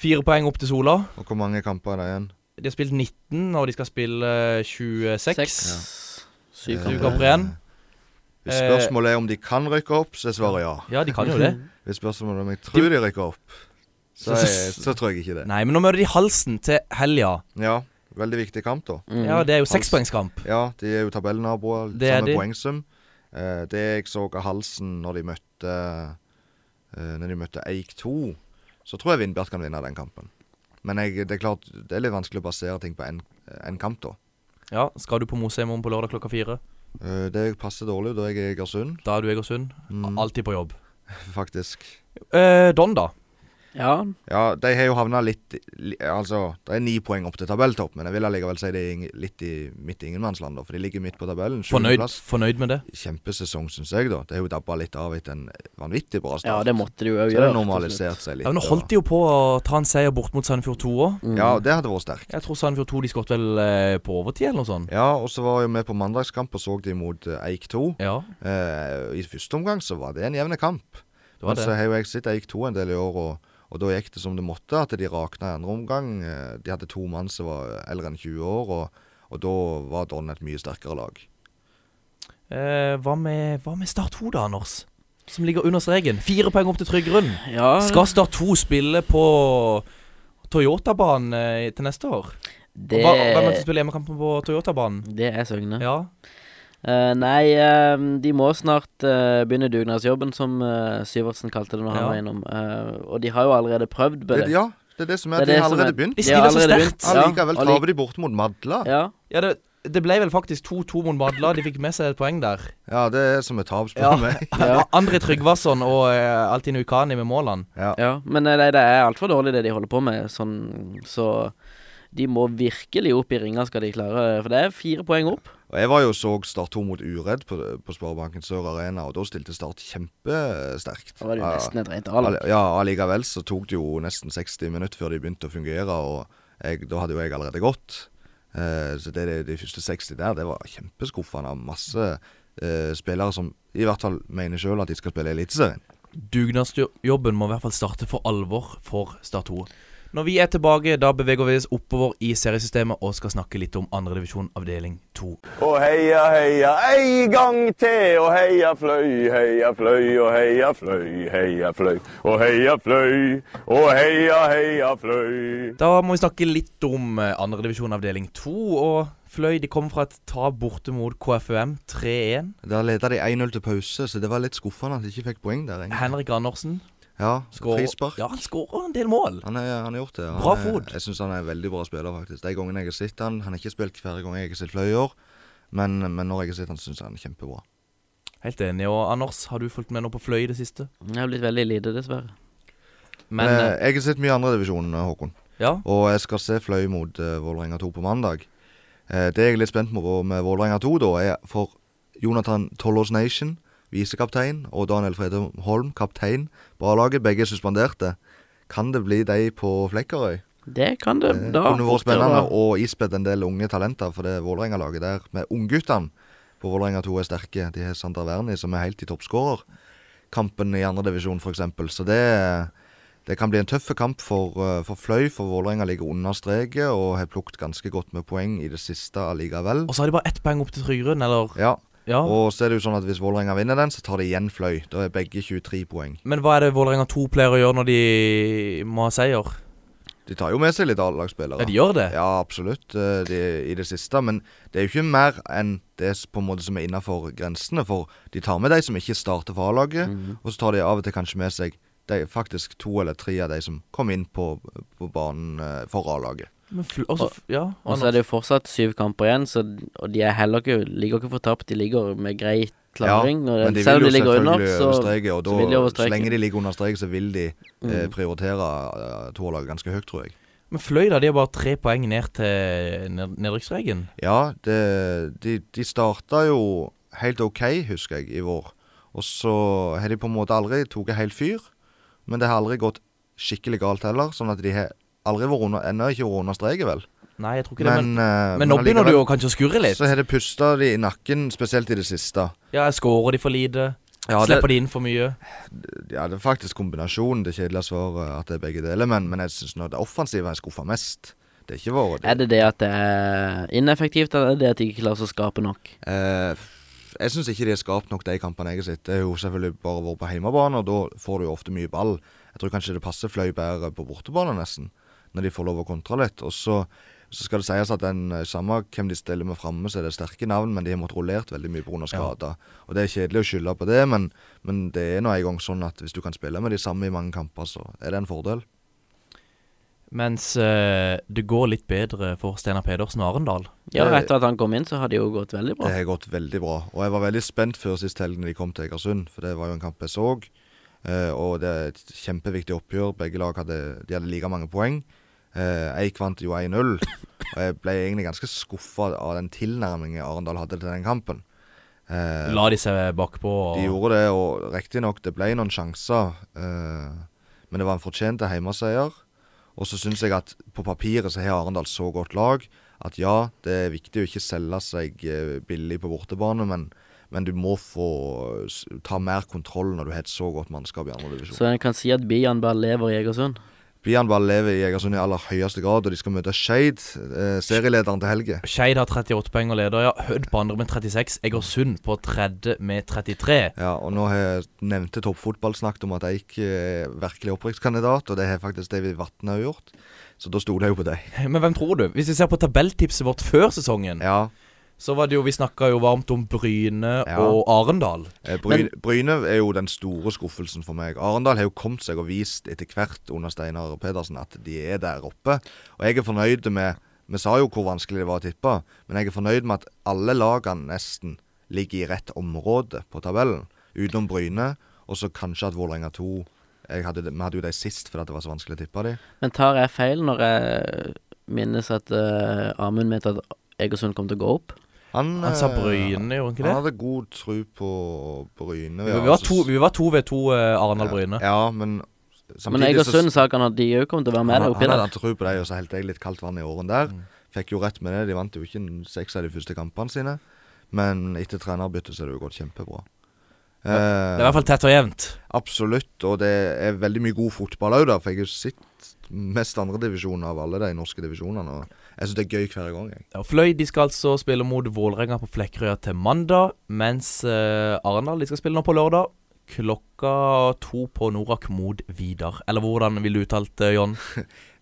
C: fire poeng opp til Sola.
D: og hvor mange kamper er det igjen?
C: De har spilt 19, og de skal spille eh, 26.
E: Seks. Syv
D: Eh,
C: kamper
E: kamper.
C: igjen.
D: Hvis
C: Eh,
D: spørsmålet er om de kan rykke opp, så er svaret ja.
C: Ja, de kan jo det.
D: Hvis spørsmålet er om jeg tror de rykker opp, så,
C: Så-
D: er, så tror jeg ikke det.
C: Nei, men nå møter de halsen til helga.
D: Ja, veldig viktig kamp, da.
E: Mm.
C: Ja, det er jo
D: Hals.
C: sekspoengskamp.
D: Ja, de er jo tabellnaboer.
C: Det er
D: Samme
C: de.
D: poengsum. Eh, det jeg så av halsen når de møtte eh, Når de møtte Eik 2, så tror jeg Vindbjart kan vinne den kampen. Men jeg, det er klart, det er litt vanskelig å basere ting på én kamp, da.
C: Ja, skal du på Mosheimoen på lørdag klokka fire?
D: Eh, det passer dårlig da jeg er i Egersund,
C: Da er du i Egersund.
D: Mm.
C: Alltid på jobb.
D: faktisk.
C: Eh, Don, da?
E: Ja,
D: Ja, de har jo havna litt li, Altså, det er ni poeng opp til tabelltopp, men jeg vil allikevel si det er ing- litt i midt i ingenmannsland, da. For de ligger midt på tabellen.
C: Fornøyd,
D: sjuendeplass.
C: fornøyd med det?
D: Kjempesesong, syns jeg, da. Det har jo dabba litt av etter en vanvittig bra start.
E: ja det måtte de jo
D: Så
E: òg
D: det har
E: gjøre.
D: normalisert seg litt. Mm.
C: Ja, men Nå
D: og-
C: holdt de jo på å ta en seier bort mot Sandefjord 2 òg.
D: Ja, det hadde vært sterkt.
C: Jeg tror Sandefjord 2 de skåret vel eh, på overtid eller noe sånt.
D: Ja, og så var jo vi på mandagskamp og så de mot eh, Eik 2.
C: Ja,
D: Eh, I første omgang så var det en jevne kamp.
C: det var
D: Men så
C: det.
D: har jo jeg sett Eik 2 en del i år, og, og da gikk det som det måtte. At de rakna i andre omgang. Eh, De hadde to mann som var eldre enn 20 år, og, og da var Don et mye sterkere lag.
C: Eh, hva, med, hva med Start 2, da, Anders? Som ligger under streken. Fire poeng opp til trygg grunn.
E: Ja,
C: Skal Start 2 spille på Toyotabanen eh, til neste år?
E: det,
C: Hva, hvem er det som spiller hjemmekampen på Toyotabanen?
E: det er Søgne.
C: Ja.
E: Eh, nei, eh, de må snart eh, begynne dugnadsjobben, som eh, Syvertsen kalte det når
C: Ja.
E: han var innom. Eh, og de har jo allerede prøvd på
D: Det,
E: det.
D: ja, det er det som er.
E: Det
D: at De
E: er det
D: har
E: som er-
D: allerede begynt.
C: De
E: har
C: stiller så
E: allerede
C: sterkt.
E: begynt, ja.
D: Allikevel
E: Allik-
D: taper de borte mot Madla. Ja.
E: Ja.
C: ja det, det ble vel faktisk 2-2 mot Madla. De fikk med seg et poeng der.
D: det er som et tap, spør
C: Ja.
D: du meg.
E: Ja.
C: André Trygvason og eh, Altine Ukani med målene.
D: Ja.
E: ja. Men eh, nei, det er altfor dårlig, det de holder på med. Sånn, så de må virkelig opp i ringa, skal de klare. For det er fire poeng opp.
D: Og Jeg var jo og så Start 2 mot Uredd på, på Sparebanken Sør Arena, og da stilte Start kjempesterkt.
E: Da var det jo
D: Ja,
E: nesten et rent drall.
D: Alli- Ja, allikevel så tok det jo nesten 60 minutter før de begynte å fungere, og jeg, da hadde jo jeg allerede gått. Eh, så det, det, de første 60 der, det var kjempeskuffende. av Masse eh, spillere som i hvert fall mener sjøl at de skal spille i Eliteserien.
C: Dugnadsjobben må i hvert fall starte for alvor for Start 2. Når vi er tilbake, da beveger vi oss oppover i seriesystemet og skal snakke litt om andredivisjon avdeling 2.
H: Og heia, heia, ei gang til. Og heia fløy, heia fløy, og heia fløy, heia fløy. Og heia fløy, og heia, heia fløy.
C: Da må vi snakke litt om eh, andredivisjon avdeling 2. Og Fløy de kom fra et tap borte mot KFUM 3-1.
D: Der leda de 1-0 til pause, så det var litt skuffende at de ikke fikk poeng der. egentlig.
C: Henrik Andersen
D: Ja,
C: skårer-
D: frispark.
C: Ja, han skårer en del mål.
D: Han, er, han har gjort det. Han
C: Bra
D: er-
C: fot.
D: Jeg syns han er en veldig bra spiller, faktisk. De gangene jeg har sett han, Han har ikke spilt hver gang jeg har sett Fløy i år, men, men når jeg har sett han, syns jeg han er kjempebra.
C: Helt enig. Og Anders, har du fulgt med nå på Fløy i det siste?
E: Det har blitt veldig lite, dessverre.
C: Men
D: eh,
C: eh,
D: jeg har sett mye i andredivisjon, Håkon.
C: ja,
D: Og jeg skal se Fløy mot eh, Vålerenga 2 på mandag. Eh, det jeg er litt spent på med Vålerenga 2, da, er for Jonathan Tollås Nation, visekaptein, og Daniel Fredum Holm, kaptein på A-laget. Begge er suspenderte. Kan det bli de på Flekkerøy?
E: Det kan det
D: Det
E: da.
D: Eh, kunne vært
E: fort gjøre.
D: spennende og ispedd en del unge talenter for det Vålerenga-laget der. Med ungguttene på Vålerenga 2 er sterke. De har Sander Wernie som er helt i toppskårerkampen i andredivisjon f.eks. Så det, det kan bli en tøff kamp for, eh, for Fløy, for Vålerenga ligger under streket og har plukket ganske godt med poeng i det siste allikevel.
C: Og så har de bare ett poeng opp til Trygrun, eller?
D: Ja,
C: Ja.
D: og så er det jo sånn at hvis Vålerenga vinner den, så tar de igjen Fløy. Da er begge 23 poeng.
C: Men hva er det Vålerenga 2 pleier å gjøre når de må ha seier?
D: De tar jo med seg litt
C: Ja,
D: A-lagsspillere.
C: de gjør det.
D: Ja, absolutt. eh, Det, I det siste. Men det er jo ikke mer enn det s- på en måte som er innafor grensene. For de tar med de som ikke starter for A-laget,
E: Mhm.
D: og så tar de av og til kanskje med seg de, faktisk to eller tre av de som kom inn på, på banen eh, for A-laget.
C: Men fl også, f- ja, altså,
E: Og så er det jo fortsatt syv kamper igjen, så, og de er heller ikke, ligger ikke fortapt. De ligger med grei klaring. og
D: men de
E: selv
D: vil
E: om
D: jo
E: de ligger under,
D: selvfølgelig
E: så,
D: over streket, og da,
E: så vil de Mhm. over
D: så
E: streken.
D: lenge de ligger under streket, så vil de eh, prioritere eh, to-A-laget ganske høyt, tror jeg.
C: Men Fløy da, de er bare tre poeng ned til ned nedrykksstreken.
D: Ja, det, de, de starta jo helt OK, husker jeg, i vår. Og så har de på en måte aldri tatt helt fyr. Men det har aldri gått skikkelig galt heller. Sånn at de har aldri vært under, ennå ikke vært under streket, vel.
C: Nei, jeg tror ikke det.
D: Men,
C: Men,
D: eh,
C: men nå begynner
D: allikevel
C: du jo kanskje å skurre litt.
D: Så har det pusta de i nakken, spesielt i det siste.
C: Ja, jeg scorer de for lite.
D: Ja, det-
C: Slipper de inn for mye.
D: Ja, det er faktisk kombinasjonen. Det kjedelige svaret at det er begge deler. Men, men jeg syns det offensive er skuffa mest. Det er ikke våre
E: Er det det at det er ineffektivt, eller er det det at de ikke klarer å skape nok?
D: Eh, f- jeg syns ikke de har skapt nok de kampene jeg har sett. Det har jo selvfølgelig bare vært på hjemmebane, og da får du jo ofte mye ball. Jeg tror kanskje det passer Fløy bedre på bortebane, nesten, når de får lov å kontra litt. Og så, så skal det sies at den eh, samme hvem de stiller med framme, så er det sterke navn, men de har måttet rullert veldig mye pga. skader. Og det er kjedelig å skylde på det, men, men det er nå en gang sånn at hvis du kan spille med de samme i mange kamper, så er det en fordel.
C: Mens eh, det går litt bedre for Steinar Pedersen og Arendal.
E: Ja,
D: Det-
E: etter at han kom inn, så har det jo gått veldig bra.
D: Det har gått veldig bra. Og jeg var veldig spent før sist helg når de kom til Egersund, for det var jo en kamp jeg så. Eh, og det er et kjempeviktig oppgjør. Begge lag hadde, de hadde like mange poeng. Eh, Eik vant jo 1-0, og jeg ble egentlig ganske skuffa av den tilnærmingen Arendal hadde til den kampen. Eh,
C: La de seg bakpå og
D: de gjorde det, og riktignok det ble noen sjanser, eh, men det var en fortjent hjemmeseier. Og så syns jeg at på papiret så har Arendal så godt lag at ja, det er viktig å ikke selge seg eh, billig på bortebane, men, men du må få s- ta mer kontroll når du har et så godt mannskap i andredivisjon.
E: Så en kan si at Bian bare lever i Egersund.
D: Bianball lever i Egersund i aller høyeste grad, og de skal møte Skeid, eh, serielederen til helga.
C: Skeid har 38 poeng og leder, ja. Hødd på andre med 36. Egersund på tredje med 33.
D: Ja, og nå har nevnte toppfotball snakket om at Eik er virkelig opprykkskandidat, og det har faktisk David Vatne òg gjort, så da stoler jeg jo på deg.
C: Men hvem tror du? Hvis vi ser på tabelltipset vårt før sesongen,
D: Ja.
C: så var det jo Vi snakka jo varmt om Bryne
D: Ja.
C: og Arendal.
D: eh, Bryne, Bryne er jo den store skuffelsen for meg. Arendal har jo kommet seg og vist etter hvert under Steinar Pedersen at de er der oppe. Og jeg er fornøyd med Vi sa jo hvor vanskelig det var å tippe, men jeg er fornøyd med at alle lagene nesten ligger i rett område på tabellen. Utenom Bryne, og så kanskje at Vålerenga 2 jeg hadde, Vi hadde jo de sist fordi at det var så vanskelig å tippe de.
E: Men tar jeg feil når jeg minnes at eh, Amund mente at Egersund kom til å gå opp?
D: Han,
C: Han sa
D: eh,
C: Bryne, gjorde han ikke
D: Han
C: det?
D: hadde god tro på Bryne.
C: Vi var
D: altså,
C: to, vi var to ved to eh, Arendal-Bryne.
D: Ja, men
E: Men
D: samtidig så-
E: Egersund sa ikke han at de òg kom til å være med
D: han,
E: der oppi
D: han
E: der.
D: hadde tro på dem, og så helte jeg litt kaldt vann i åren der. Fikk jo rett med det. De vant jo ikke en seks av de første kampene sine. Men etter trenerbyttet så har det jo gått kjempebra.
C: Det er i
D: Eh,
C: hvert fall tett og jevnt.
D: absolutt, og det er veldig mye god fotball òg, da. For jeg har jo sett mest andredivisjon av alle de norske divisjonene. Og jeg syns det er gøy hver gang, jeg.
C: Ja, Fløy de skal altså spille mot Vålerenga på Flekkerøya til mandag, mens eh, Arendal de skal spille nå på lørdag. Klokka to på Norak mot Vidar. Eller hvordan ville du uttalt det, John?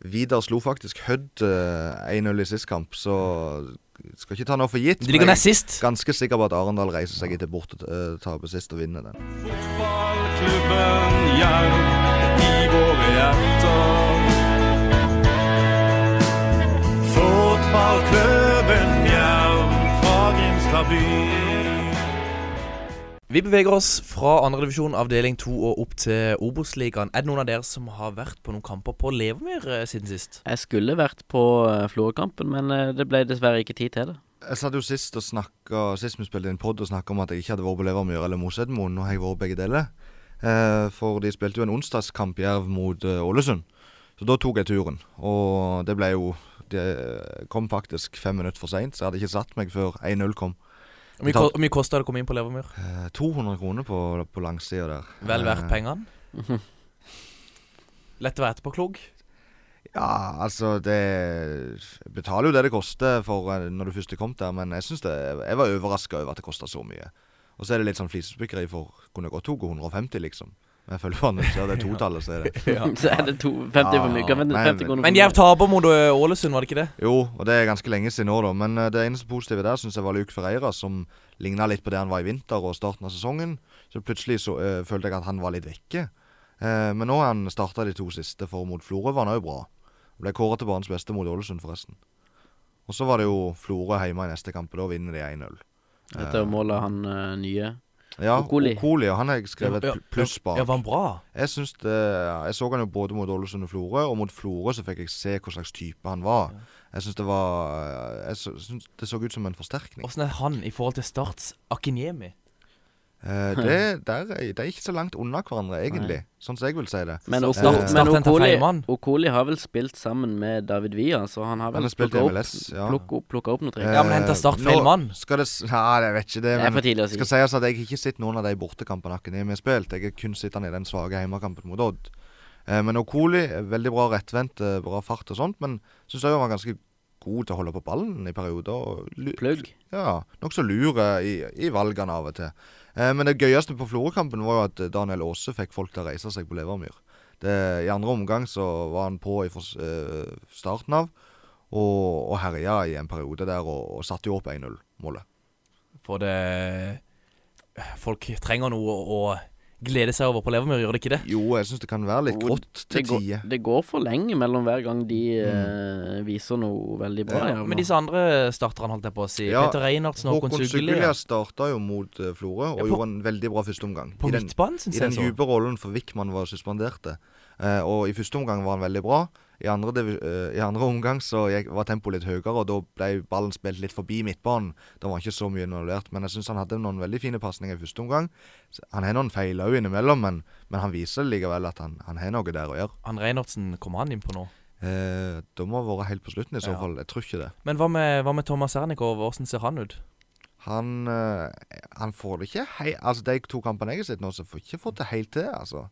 D: Vidar slo faktisk Hødd eh, 1-0 i sist kamp, så skal ikke ta noe for gitt.
C: De ligger
D: men
C: nest sist.
D: jeg er ganske sikker på at Arendal reiser seg etter bortetapet eh, sist og vinner den.
F: Fotballklubben Jerv i våre hjerter. Fotballklubben Jerv fra Grimstad by.
C: Vi beveger oss fra andredivisjon avdeling to og opp til Obos-ligaen. Er det noen av dere som har vært på noen kamper på Levermyr eh, siden sist?
E: Jeg skulle vært på eh, Florø-kampen, men eh, det ble dessverre ikke tid til det.
D: Jeg satt jo sist og snakket, sist vi spilte inn podd og snakka om at jeg ikke hadde vært på Levermyr eller Mosedmoen. Nå har jeg vært begge deler. Eh, for de spilte jo en onsdagskamp Jerv mot eh, Ålesund. Så da tok jeg turen. Og det ble jo Det eh, kom faktisk fem minutter for seint, så jeg hadde ikke satt meg før 1-0 kom.
C: Hvor mye, ko- hvor mye kosta det å komme inn på Levermyr?
D: Eh, 200 kroner på, på langsida der.
C: Vel verdt
D: Eh,
C: pengene? Lett å være etterpåklok.
D: Ja, altså det jeg Betaler jo det det koster for eh, når du først kom der, men jeg synes det Jeg var overraska over at det kosta så mye. Og så er det litt sånn flisespikkeri for Kunne godt tatt 150, liksom. Men jeg føler bare når du ser det totallet, så er det
E: Så er det to, 50 for mye.
D: Ja,
E: men
D: nei,
E: 50
D: men-
E: kroner for
C: Men
E: mye.
C: Jerv taper mot eh, Ålesund, var det ikke det?
D: Jo, og det er ganske lenge siden nå, da. Men eh, det eneste positive der syns jeg var Luke Ferreira, som ligna litt på det han var i vinter og starten av sesongen. Så plutselig så, eh, følte jeg at han var litt vekke. Eh, men nå har han starta de to siste, for mot Florø var han òg bra. Ble kåra til banens beste mot Ålesund, forresten. Og så var det jo Florø hjemme i neste kamp, og da vinner de 1-0.
E: Etter målet han eh, nye.
D: Ja,
E: Okoli.
D: Okoli, han har jeg skrevet
C: Ja,
D: pl- pluss bak.
C: Ja, var han bra?
D: Jeg syns det Jeg så han jo både mot Ålesund og Florø, og mot Florø så fikk jeg se hva slags type han var. eh, Jeg syns det var Jeg syns det så ut som en forsterkning.
C: Åssen er han i forhold til Starts Akinyemi?
D: Eh, det, der, er- de er ikke så langt unna hverandre, egentlig. Sånn som jeg vil si det.
E: Men,
C: Start-
E: Okoli,
C: start
E: men
C: den til
E: Okoli,
C: feil mann.
E: Okoli har vel spilt sammen med David Villa, så han har
D: Han
E: vel
D: har spilt
E: plukket
D: i
E: opp,
D: MLS, ja.
E: plukket opp, plukket opp noe triks.
C: Ja, men henter Start
D: Eh,
C: feil
D: nå
C: mann?
D: Skal det s- Nei, jeg vet ikke det.
E: Det er
D: Men
E: for tidlig å si.
D: skal sies at jeg har ikke sett noen av de bortekampene Akademi har spilt. Jeg har kun sett han i den svake hjemmekampen mot Odd. Eh, men Okoli, er veldig bra rettvendt, eh, bra fart og sånt, men syns jeg han var ganske god til å holde på ballen i perioder. og lu-
E: Plugg.
D: Ja, nokså lur eh, i, i valgene av og til. Eh, men det gøyeste på Florø-kampen var jo at eh, Daniel Aase fikk folk til å reise seg på Levermyr. Det, I andre omgang så var han på fra starten av, og, og herja i en periode der, og, og satte jo opp 1-0-målet.
C: For det eh, Folk trenger noe å glede seg over på Levermyr, gjør det ikke det?
D: Jo, jeg syns det kan være litt
E: Jo,
D: grått
E: Det
D: til Mm.
E: går,
D: tider.
E: det går for lenge mellom hver gang de eh, viser noe veldig bra.
C: Ja,
E: gjerne.
C: men disse andre starterne, holdt jeg på å si.
D: Ja,
C: Peter Reinhardsen og
D: Håkon
C: Håkon Sugli.
D: Sugelia
C: ja.
D: starta jo mot eh, Florø og
C: Ja, på-
D: gjorde en veldig bra førsteomgang.
C: På
D: I den-
C: midtbanen, syns
D: I
C: jeg
D: den
C: så.
D: dype rollen for Wickman var suspenderte. Eh, og i første omgang var han veldig bra. I andre, divi- eh, i andre omgang så gikk, var tempoet litt høyere, og da ble ballen spilt litt forbi midtbanen. Da var han ikke så mye involvert, men jeg syns han hadde noen veldig fine pasninger i første omgang. S- Han har noen feil òg innimellom, men, men han viser likevel at han, han har noe der å gjøre.
C: Han Reinhardsen kommer han inn på nå.
D: Eh, det må ha vært helt på slutten i så
C: Ja.
D: fall. Jeg tror ikke det.
C: Men hva med, hva med Thomas Sernikov? Hvordan ser han ut?
D: Han, eh, han får det ikke hei, Altså, de to kampene jeg har sett nå, så får ikke fått det helt til, altså.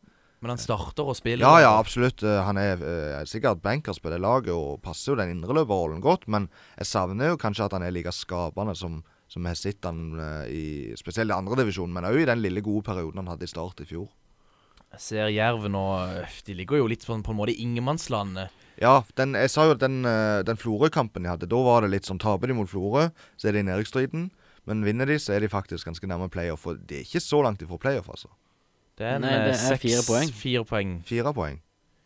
C: Men han starter og spiller.
D: Ja, ja, absolutt. Eh, Han er eh, sikkert bankers på det laget og passer jo den indreløperrollen godt, men jeg savner jo kanskje at han er like skapende som som jeg har sett han eh, i spesielt i andredivisjon, men òg i den lille gode perioden han hadde i start i fjor.
C: Jeg Ser Jerven og øh, De ligger jo litt sånn på en måte i eh. ingenmannslandet.
D: Ja, den, jeg sa jo at den, eh, den Florø-kampen de hadde, da var det litt sånn Taper de mot Florø, så er de i nedrykksstriden. Men vinner de, så er de faktisk ganske nærme playoff, og de er ikke så langt ifra playoff, altså.
C: Det er, en,
E: Nei, det
C: øh,
E: er fire
C: seks-
E: poeng.
C: Fire poeng.
D: Fire poeng.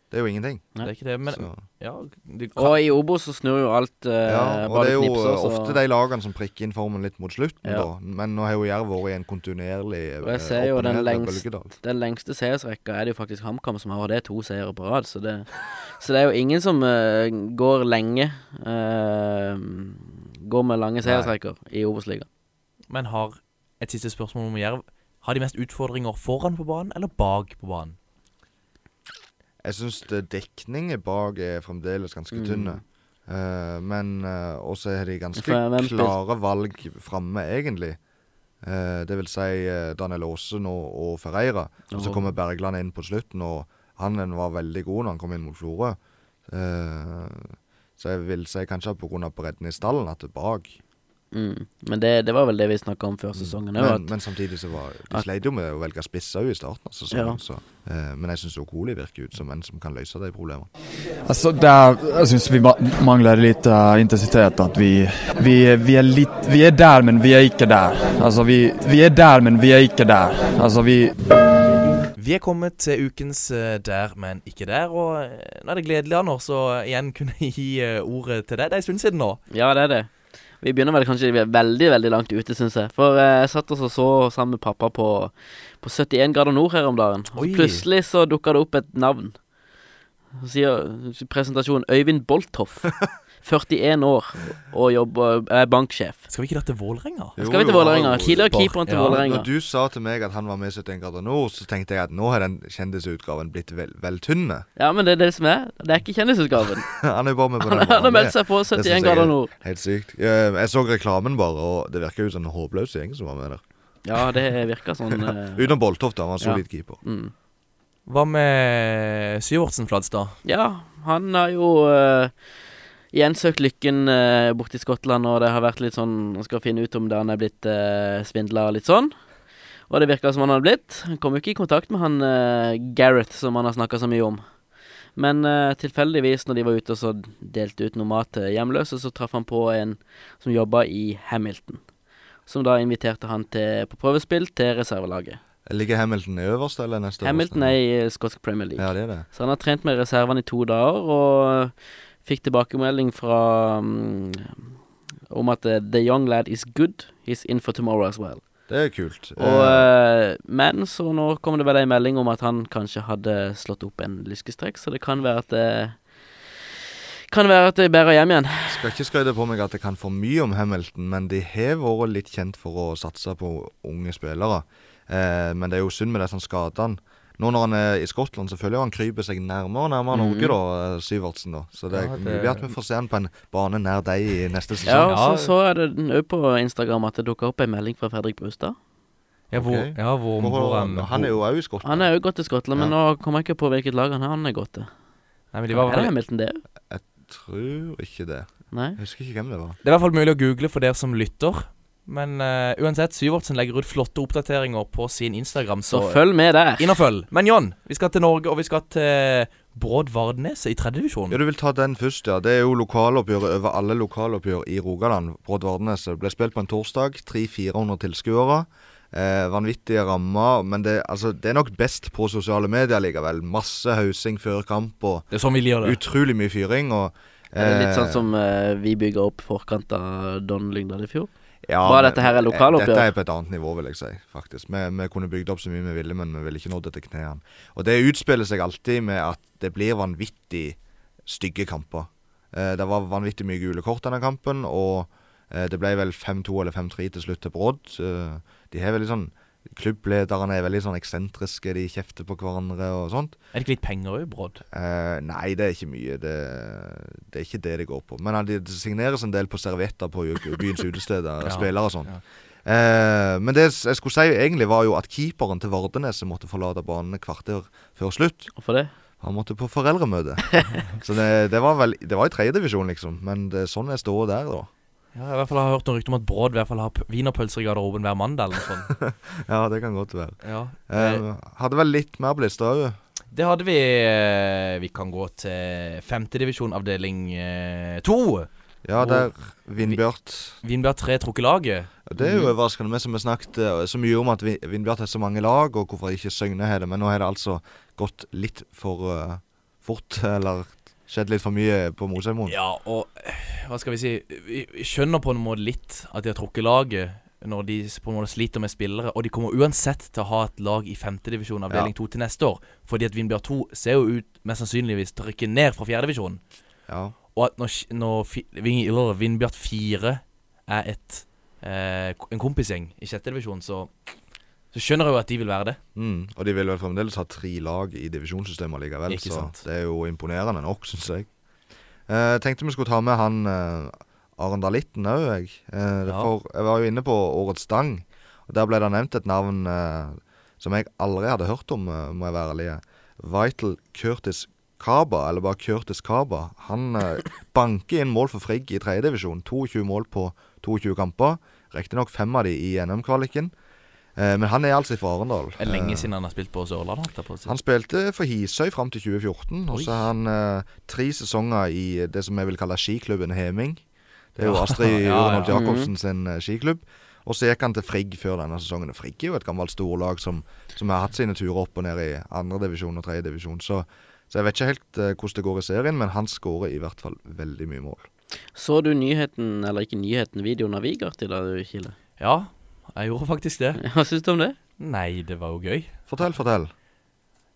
D: Det er jo ingenting.
C: Det er ikke det, men
D: Så.
C: ja, du kan,
E: Og i Obos så snur jo alt eh,
D: Ja, og
E: bare
D: det er
E: litt
D: jo
E: knipser, så
D: ofte de lagene som prikker inn formen litt mot slutten,
E: Ja.
D: da. Men nå har jo Jerv vært i en kontinuerlig eh,
E: Og jeg ser jo
D: opp- og
E: den
D: ned-
E: lengst-
D: bølgedal.
E: Den lengste seiersrekka er det jo faktisk HamKam som har, og det er to seire på rad. Så det, så det er jo ingen som eh, går lenge eh, Går med lange seiersrekker i Obos-ligaen.
C: men har et siste spørsmål om Jerv. Har de mest utfordringer foran på banen eller bak på banen?
D: Jeg syns dekningen bak er fremdeles ganske
E: Mm.
D: tynne. Eh, men uh, også er de ganske
E: For hvem spil-
D: klare valg framme, egentlig. Eh, det vil si eh, Daniel Aasen og, og Ferreira. Og så
E: Og-
D: kommer Bergland inn på slutten, og han en var veldig god når han kom inn mot Florø. Eh, så jeg vil si kanskje pga. bredden i stallen at det er bak.
E: Mm. Men det, det var vel det vi snakka om før sesongen
D: Mm.
E: òg,
D: Men,
E: at
D: men samtidig så var De
E: at-
D: sleit jo med å velge spiss òg i starten av sesongen.
E: Ja.
D: Så, eh, men jeg syns Okoli virker ut som en som kan løse de problemene.
I: Alltså, där, jag syns vi ma- manglar lite eh, intensitet. Att vi, vi, vi, är lit, vi är där, men vi är inte där. Alltså, vi, vi är där, men vi är inte där. Alltså, vi,
C: Vi er kommet til ukens eh, Der, men ikke der. Og eh, nå er det gledelig, Anders, å igjen kunne gi eh, ordet til deg. Det er en stund siden nå.
E: Ja, det er det. Vi begynner vel kanskje veldig veldig langt ute, syns jeg. For eh, jeg satt og så- så sammen med pappa på, på 71 grader nord her om dagen. Og
C: Oi.
E: så plutselig så dukka det opp et navn. Så sier presentasjonen Øyvind Bolthoff. 41 år og jobber, er banksjef.
C: Skal vi ikke da til Vålerenga?
E: Skal vi til Vålerenga? Tidligere keeperen til
C: Ja,
E: Vålerenga.
D: Når du sa til meg at han var med i 71 grader nord, så tenkte jeg at nå har den kjendisutgaven blitt vel, vel tynne.
E: Ja, men det er det som er. Det er ikke kjendisutgaven.
D: han er jo bare med på
E: Han
D: den
E: han har
D: måten.
E: meldt seg på
D: Det synes jeg
E: 71 grader
D: er
E: nord.
D: Helt sykt. Eh, Jeg så reklamen bare, og det virker jo som en håpløs gjeng som var med der.
E: Ja, det virker sånn. eh,
D: Utenom Boltoft, da. Han var en
E: Ja.
D: solid keeper.
E: Mm.
C: Hva med Syvertsen Fladstad?
E: Ja, han har jo eh, igjen søkt lykken eh, borte i Skottland, og det har vært litt sånn Han skal finne ut om det han er blitt uh, svindla litt sånn. Og det virka som han hadde blitt. Han kom jo ikke i kontakt med han eh, Gareth, som han har snakka så mye om. Men eh, tilfeldigvis, når de var ute og så delte ut noe mat til hjemløse, så traff han på en som jobba i Hamilton. Som da inviterte han til, på prøvespill til reservelaget.
D: Ligger Hamilton i øverste eller neste?
E: Hamilton
D: øverste?
E: er i eh, skotsk Premier League.
D: Ja, det er det.
E: Så han har trent med reservene i to dager, og eh, fikk tilbakemelding fra mm, om at eh, the young lad is good, he's in for tomorrow as well.
D: Det er kult.
E: Og,
D: Eh,
E: eh, men så nå kom det vel en melding om at han kanskje hadde slått opp en lyskestrekk, så det kan være at det eh, Kan være at jeg bærer hjem igjen.
D: Skal ikke skryte på meg at jeg kan for mye om Hamilton, men de har vært litt kjent for å satse på unge spillere. Eh, men det er jo synd med disse skadene. Nå når han er i Skottland, så føler jeg han kryper seg nærmere og
E: Mhm.
D: nærmere Norge, da, eh, Syvertsen. da. Så det er
C: Ja, det-
D: mulig at vi får se han på en bane nær deg i neste
E: Ja,
D: sesong.
E: og så så jeg det òg på Instagram at det dukka opp ei melding fra Fredrik Brustad.
C: Ja, hvor,
D: Ok.
C: ja, hvor, hvor,
D: Hvor-
C: um,
D: han er jo òg i Skottland.
E: Han er òg gått til Skottland, men
D: Ja.
E: nå kommer jeg ikke på hvilket lag han har han er gått til.
C: Nei, men de var,
E: Er det Hamilton, det òg?
D: Tror ikke det.
E: Nei.
D: Jeg husker ikke hvem det var.
C: Det er i hvert fall mulig å google for dere som lytter. Men eh, uansett, Syvertsen legger ut flotte oppdateringer på sin Instagram,
E: Så
C: så, eh,
E: følg med der.
C: inn og følg. Men Jon, vi skal til Norge, og vi skal til Bråd Vardnes i tredje divisjon.
D: Ja, Du vil ta den først, ja. Det er jo lokaloppgjøret over alle lokaloppgjør i Rogaland. Brodd Vardenes Det ble spilt på en torsdag. 300-400 tilskuere. Eh, vanvittige rammer. Men det, altså, det er nok best på sosiale medier likevel. Masse hausing før kamp og
C: Det er sånn vi liker det.
D: utrolig mye fyring. Og,
E: Er det litt sånn
D: eh,
E: som eh, vi bygger opp forkant av Don Lyngdal i fjor?
D: ja,
E: Bare
D: men-
E: dette her er lokaloppgjør.
D: Dette er på et annet nivå, vil jeg si. faktisk. Vi, vi kunne bygd opp så mye vi ville, men vi ville ikke nådd etter knærne. Og det utspiller seg alltid med at det blir vanvittig stygge kamper. Eh, det var vanvittig mye gule kort denne kampen, og eh, det ble vel 5-2 eller 5-3 til slutt til Brodd. Eh, de har veldig sånn Klubblederne er veldig sånn eksentriske, de kjefter på hverandre og sånt.
C: Er det ikke litt penger òg, Bråd?
D: Eh, nei, det er ikke mye. Det, det er ikke det det går på. Men eh, det det signeres en del på servietter på u- byens utesteder,
C: Ja,
D: spillere og sånn.
C: ja.
D: Eh, men det s- jeg skulle si egentlig, var jo at keeperen til Vardenes måtte forlate banen et kvarter før slutt.
E: Hvorfor det?
D: Han måtte på foreldremøte. Så det, det var vel Det var i tredjedivisjon, liksom. Men det, sånn er ståa der, da.
C: Ja, jeg i hvert fall har jeg hørt noen rykter om at Bråd i hvert fall har p- wienerpølser i garderoben hver mandag eller noe sånt.
D: Ja, det kan godt være.
C: ja.
D: Eh, hadde vel litt mer på lista òg.
C: Det hadde vi. eh, Vi kan gå til femtedivisjon avdeling eh, to.
D: Ja,
C: Og-
D: der Vindbjart
C: Vinberg 3 trukket laget.
D: Det er
C: Mm.
D: jo overraskende. Vi som har snakket eh, så mye om at Vi- Vindbjart har så mange lag, og hvorfor ikke Søgne har det. Men nå har det altså gått litt for eh, fort, eller skjedd litt for mye på Mosheimoen.
C: Ja, og eh, hva skal vi si Vi vi skjønner på en måte litt at de har trukket laget når de s- på en måte sliter med spillere, og de kommer uansett til å ha et lag i femtedivisjon avdeling
D: Ja.
C: 2 til neste år, fordi at Vindbjørn 2 ser jo ut mest sannsynligvis til å rykke ned fra fjerdedivisjon,
D: Ja.
C: og at når, sk- når fi- Ving- eller Vindbjørn 4 er et eh, ko- en kompisgjeng i sjettedivisjon, så så skjønner jeg jo at de vil være det.
D: Mm. Og de vil vel fremdeles ha tre lag i divisjonssystemet likevel,
C: Ikke
D: så
C: sant.
D: det er jo imponerende nok, syns jeg. Eh, tenkte vi skulle ta med han uh, Arendalitten òg, jeg. Eh,
C: Ja.
D: For jeg var jo inne på Årets Stang, og der ble det nevnt et navn eh, som jeg aldri hadde hørt om, eh, må jeg være ærlig. eh, Vital Curtis Kaba, eller bare Curtis Kaba. Han eh, banker inn mål for Frigg i tredjedivisjon. 22 mål på 22 kamper. Riktignok fem av de i NM-kvaliken. Eh, men han er altså fra Arendal.
C: Det er lenge
D: Eh,
C: siden han har spilt på Sørlandet. holdt jeg på å si.
D: han spilte for Hisøy fram til 2014, og så har han eh, tre sesonger i eh, det som jeg vil kalle skiklubben Heming. Det er jo
C: Ja,
D: Astrid
C: ja,
D: Urenholt
C: ja.
D: Jacobsen sin eh, skiklubb. Og så gikk han til Frigg før denne sesongen. Og Frigg er jo et gammelt storlag som, som har hatt sine turer opp og ned i andredivisjon og tredjedivisjon. Så, så jeg vet ikke helt eh, hvordan det går i serien, men han skårer i hvert fall veldig mye mål.
E: Så du nyheten, eller ikke nyheten, videoen av Vigart i dag, Kile?
C: Ja, jeg gjorde faktisk det.
E: Hva syns du om det?
C: Nei, det var jo gøy.
D: Fortell, fortell.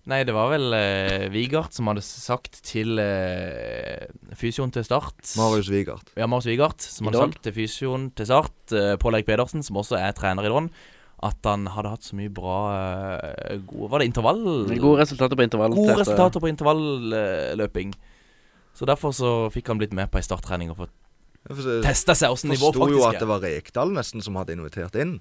C: Nei, det var vel eh, Vigart som hadde sagt til eh, fysioen til Start
D: Marius Wigard.
C: Ja, Marius Vigart, som hadde
E: Idol.
C: sagt til fysioen til Start, eh, Pål Erik Pedersen, som også er trener i Don, at han hadde hatt så mye bra eh, gode Var det intervall?
E: Gode resultater på eh. intervall.
C: Gode resultater på intervalløping. Så derfor så fikk han blitt med på ei starttrening og fått
D: Jeg forstår-
C: testa seg åssen nivå
D: forsto jo
C: faktisk
D: at det
C: er.
D: var Rekdal nesten som hadde invitert inn.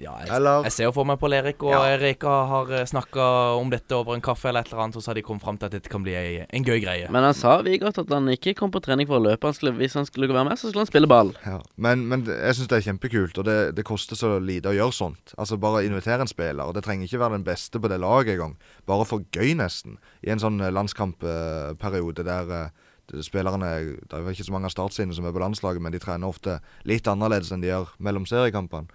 C: Ja, jeg,
D: Eller
C: jeg ser jo for meg Pål Erik og
D: Ja.
C: Erika har snakka om dette over en kaffe eller et eller annet, og så har de kommet fram til at dette kan bli ei, en gøy greie.
E: Men han sa Vigart at han ikke kom på trening for å løpe. Han skulle, hvis han skulle være med, så skulle han spille ball.
D: Ja, men, men det- jeg syns det er kjempekult, og det, det koster så lite å gjøre sånt. Altså Bare invitere en spiller, og det trenger ikke være den beste på det laget engang. Bare for gøy, nesten. I en sånn landskampperiode der eh, de- spillerne Det er jo ikke så mange av startsidene som er på landslaget, men de trener ofte litt annerledes enn de gjør mellom seriekampene.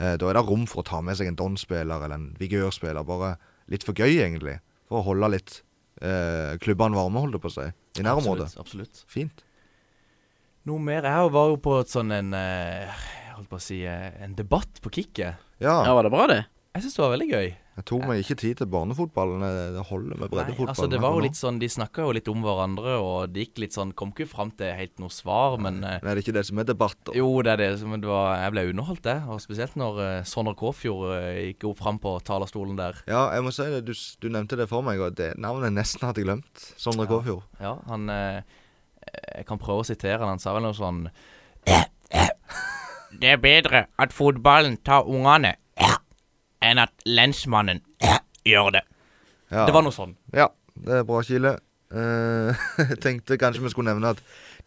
D: Eh, Da er det rom for å ta med seg en Don-spiller eller en vigørspiller. Bare litt for gøy, egentlig. For å holde litt eh, klubbene varme, holdt jeg på å si. I nærområdet.
C: Absolutt, absolutt.
D: Fint.
C: Noe mer. Jeg var jo på et sånn en eh, Jeg holdt på å si eh, en debatt på Kicket.
E: Ja, var det bra, det?
C: Jeg syns det var veldig gøy.
D: Jeg tok meg ikke tid til barnefotballen. eh, Det holder med breddefotballen.
C: Nei, altså det var jo litt sånn, De snakka jo litt om hverandre, og det gikk litt sånn Kom ikke fram til helt noe svar, men eh,
D: Nei, det er ikke det som er debatter.
C: Jo, det er det. som- Men det var, jeg ble underholdt, det. Og spesielt når eh, Sondre Kåfjord eh, gikk opp fram på talerstolen der.
D: Ja, jeg må si det, du, s- du nevnte det for meg, og det navnet nesten hadde jeg glemt. Sondre Kåfjord.
C: Ja, han eh, Jeg kan prøve å sitere han. Han sa vel noe sånn Det er bedre at fotballen tar ungene enn at lensmannen gjør det.
D: Ja.
C: Det var noe sånn.
D: ja, det er bra, Kile. Eh, Jeg tenkte kanskje vi skulle nevne at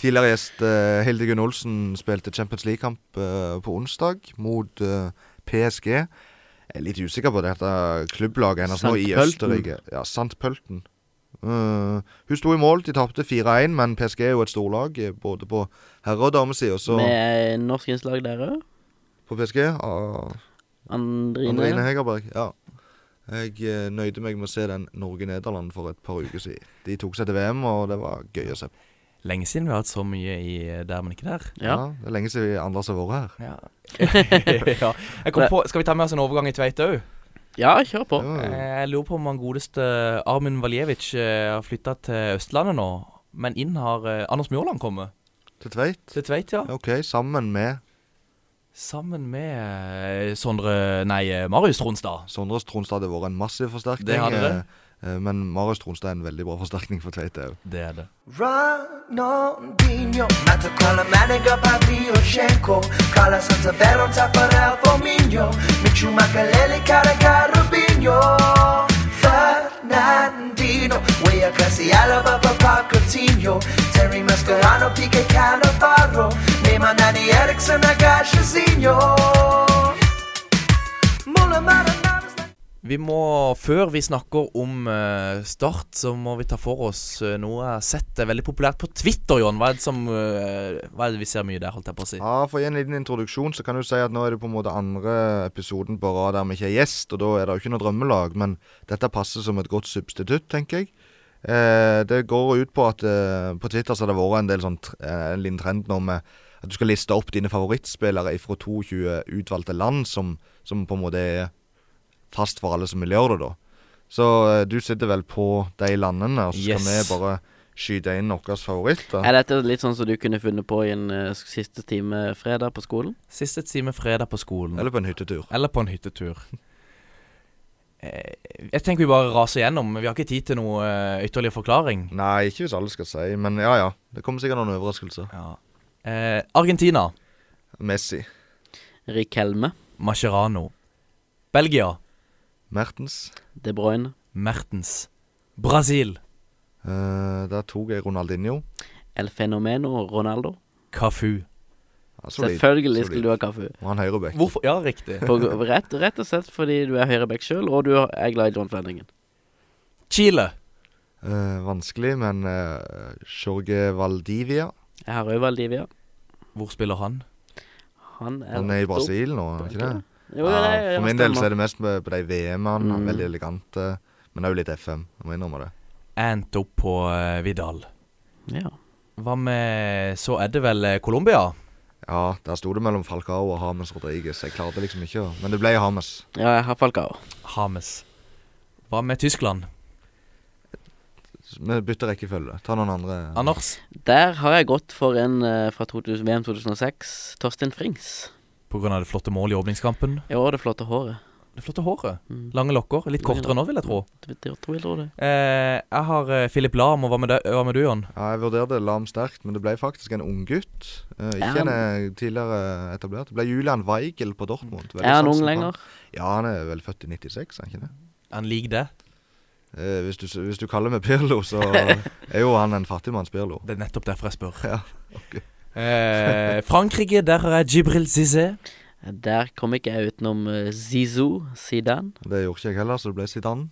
D: tidligere gjest eh, Hildegunn Olsen spilte Champions League-kamp eh, på onsdag mot eh, PSG. Jeg er litt usikker på dette klubblaget hennes nå i
E: Sandpölten.
D: Østerrike. Ja, Sandpölten. Eh, hun sto i mål, de tapte 4-1, men PSG er jo et storlag eh, både på herre- og damesida, så
E: Med eh, norsk innslag der òg.
D: på PSG ah, Andrine
E: Andrine.
D: Hegerberg, ja. Jeg eh, nøyde meg med å se den Norge-Nederland for et par uker siden. De tok seg til VM, og det var gøy å se på.
C: Lenge siden vi har hatt så mye i eh, Der, men ikke der.
E: Ja.
D: det er lenge siden Anders har vært her.
C: Ja. ja. Jeg kom på, skal vi ta med oss en overgang i Tveite òg?
E: ja, kjør på.
C: Mm.
D: Ja,
C: Jeg lurer på om han godeste Armin Valjevic eh, har flytta til Østlandet nå. Men inn har eh, Anders Mjåland kommet.
D: til Tveit.
C: Til Tveit, ja.
D: OK, sammen med
C: Sammen med eh, Sondre Nei, eh, Marius Tronstad.
D: Sondre Tronstad. Det har vært en massiv forsterkning.
C: Det hadde det.
D: eh, eh, Men Marius Tronstad er en veldig bra forsterkning for Tveit òg.
C: Det er det.
J: Ronaldinho Matacolomanico, Pavlyuchenko Kala Santabella, Taffarel, Fominho Michu Makaleli, Caraca, Rubinho Fernandino Weya Casiala, Papa, Coutinho Terry Mascherano, Pique, Cannavaro Neymar, Nani, Eriksson, Agashazinho Muller, Maranavas
C: Vi må, Før vi snakker om eh, Start, så må vi ta for oss eh, noe jeg har sett er veldig populært på Twitter, Jon. Hva er det, som, eh, hva er det vi ser mye der, holdt jeg på å si?
D: Ja, for i en liten introduksjon så kan du si at nå er det på en måte andre episoden på rad der vi ikke er gjest, og da er det jo ikke noe drømmelag, men dette passer som et godt substitutt, tenker jeg. Eh, det går ut på at eh, på Twitter så har det vært en del sånn, tr- eh, en liten trend nå med at du skal liste opp dine favorittspillere fra 22 utvalgte land, som, som på en måte er fast for alle som vil gjøre det, da. Så eh, du sitter vel på de landene, og så skal
C: Yes.
D: vi bare skyte inn våre favoritter.
E: Er dette litt sånn som du kunne funnet på i en eh, siste time fredag på skolen?
C: Siste time fredag på skolen.
D: Eller på en hyttetur.
C: Eller på en hyttetur. Eh, Jeg tenker vi bare raser gjennom. Vi har ikke tid til noe eh, ytterligere forklaring.
D: Nei, ikke hvis alle skal si, men ja ja. Det kommer sikkert noen overraskelser.
C: Eh, Argentina.
D: Messi,
E: Rikelme,
C: Mascherano. Belgia.
D: Mertens.
E: De Bruyne,
C: Mertens. Brasil.
D: Eh, der tok jeg Ronaldinho.
E: El Fenomeno, Ronaldo.
C: Cafu.
D: Ja, solid,
E: Selvfølgelig
D: solid.
E: skulle du ha kaffe.
D: Og han høyreback.
C: Hvorfor? Ja, riktig.
E: På, rett, rett og slett fordi du er høyreback sjøl, og du er glad i John Flendingen.
C: Chile.
D: Eh, vanskelig, men eh, Jorge Valdivia.
E: Jeg har òg Valdivia.
C: Hvor spiller han?
E: Han er,
D: Han er i
E: opp-
D: Brasil nå, er han ikke det?
E: Jo, det er,
D: Ja, for min del så
E: stemmer.
D: er det mest med- på de VM-ene.
E: Mm.
D: Veldig elegante. Men òg litt FM. Jeg må innrømme det.
C: Jeg endte opp på eh, Vidal.
E: ja.
C: Hva med Så er det vel eh, Colombia?
D: Ja, der sto det mellom Falcao og Hames Rodriguez. Jeg klarte liksom ikke å Men det ble Hames.
E: ja, jeg har Falcao.
C: Hames. Hva med Tyskland?
D: Vi bytter rekkefølge. Ta noen andre.
C: Anders?
E: Der har jeg gått for en eh, fra 2000, VM 2006, Torstein Frings.
C: På grunn av det flotte målet i åpningskampen.
E: I år er det flotte håret.
C: Det flotte håret.
E: Mm.
C: Lange lokker. Litt kortere nå, vil jeg tro.
E: Det betyr- tror jeg tror det.
C: Eh, jeg har eh, Philip Lahm, og hva med, deg- hva med du, Jon?
D: Ja, jeg vurderte Lam sterkt, men det ble faktisk en unggutt. Uh, ikke
E: Er han-
D: en eh, tidligere etablert. Det ble Julian Weigel på Dortmund. Veldig
E: Er han ung
D: sansen for
E: lenger?
D: Ja, han er vel født i 96, er han ikke det?
C: Han liker det.
D: Eh, hvis, du, s- hvis du kaller meg Pirlo, så er jo han en fattigmanns Pirlo.
C: Det er nettopp derfor jeg spør.
D: Ja, ok.
C: eh, Frankrike, der har jeg Jibril Zizé.
E: Der kom ikke jeg utenom eh, Zizou Zidane.
D: Det gjorde ikke jeg heller, så det ble Zidane.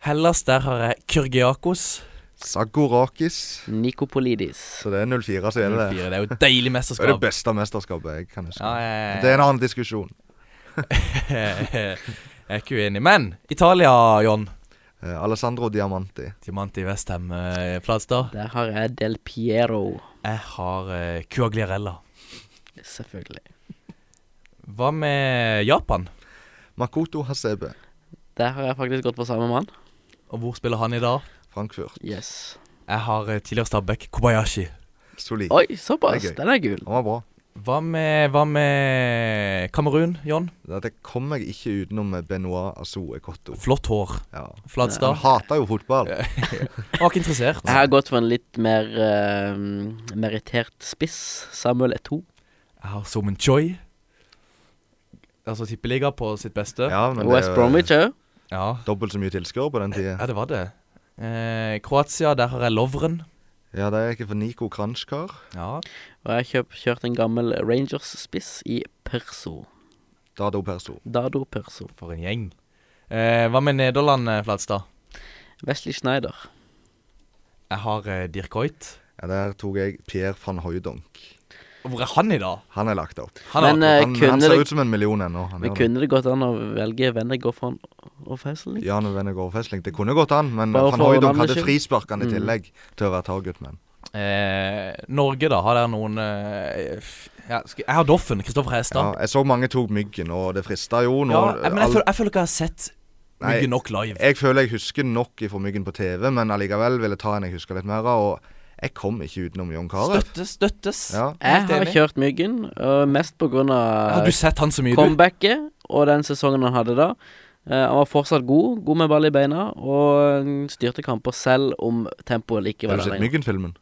C: Hellas, der har jeg Kyrgiakos.
D: Sagorakis.
E: Nikopolidis.
D: Så det er 04 som gjelder det.
C: 04. Det er jo et deilig
D: Det er det
C: mesterskap.
D: beste mesterskapet jeg kan huske.
C: Ja, jeg-
D: Det er en annen diskusjon.
C: jeg er ikke uenig. Men Italia, Jon.
D: Eh, Alessandro Diamanti.
C: Diamant i Westham eh, Flatstad.
E: Der har jeg Del Piero.
C: Jeg har eh, Cuagliarella.
E: Selvfølgelig.
C: Hva med Japan?
D: Makoto Hasebe.
E: Der har jeg faktisk gått på samme mann.
C: Og hvor spiller han i dag?
D: Frankfurt.
E: Yes.
C: Jeg har eh, tidligere Stabæk, Kobayashi.
D: Solid.
E: Oi, såpass.
D: Det er gøy.
E: Den er gul.
D: Han var bra.
C: Hva med, hva med Kamerun, John?
D: Dette kom jeg ikke utenom med Benoit Asso Ekotto.
C: Flott hår.
D: Ja.
C: Flat
D: Han
C: stav.
D: hater jo fotball.
C: Var ikke interessert.
E: Jeg har gått for en litt mer eh, merittert spiss. Samuel Eto.
C: Jeg har Somen Choi. Altså tippeliga på sitt beste.
D: Ja, men det
E: West Bromwich òg.
C: Ja,
D: dobbelt så mye tilskuere på den tida.
C: ja det var det. Eh, Kroatia, der har jeg Lovren.
D: Ja, det er ikke for Niko Kranjkar.
C: Ja.
E: Og jeg har kjøp- kjørt en gammel Rangers-spiss i Perso.
D: Dado Perso.
E: Dado Perso.
C: For en gjeng. Eh, hva med Nederland, eh, Flatstad?
E: Wesley Schneider.
C: Jeg har eh, Dirk Hoit.
D: Ja, der tok jeg Pierre van Hooydonk.
C: Hvor er han i dag?
D: Han er lagt opp.
C: Han
E: Men
C: er,
E: eh,
D: Han, han
E: kunne,
D: ser
E: det,
D: ut som en million ennå. Han
E: men
D: gjør det.
E: kunne det gått an å velge Vennegoff han og Faisal?
D: Jan og Venegård Fesling. Det kunne gått an, men
E: Bare
D: van
E: for
D: Hooydonk
E: navnet
D: hadde
E: skyld.
D: frisparkene i
E: Mm.
D: tillegg til å være targetman.
C: eh, Norge, da? Har dere noen eh, f- ja, skal, Jeg har Doffen. Kristoffer
D: Ja,
C: Hestad.
D: jeg så mange tok Myggen, og det frista jo nå.
C: Ja, jeg, men jeg
D: Alt-
C: føler, jeg føler ikke jeg har sett
D: Nei.
C: mye nok live.
D: Jeg føler jeg husker nok ifra Myggen på TV, men allikevel vil jeg ta en jeg husker litt mer av. Og jeg kom ikke utenom John Carew.
C: Støttes, støttes.
D: Ja.
E: Jeg
C: Helt
E: har
C: enig.
E: kjørt Myggen, og mest på grunn
C: Har
E: av
C: du sett han så mye, du?
E: comebacket og den sesongen han hadde da. Eh, han var fortsatt god, god med ball i beina, og mm, styrte kamper selv om tempoet ikke
D: Har
E: var
D: du
E: der
D: sett
E: inne.
D: Myggen-filmen?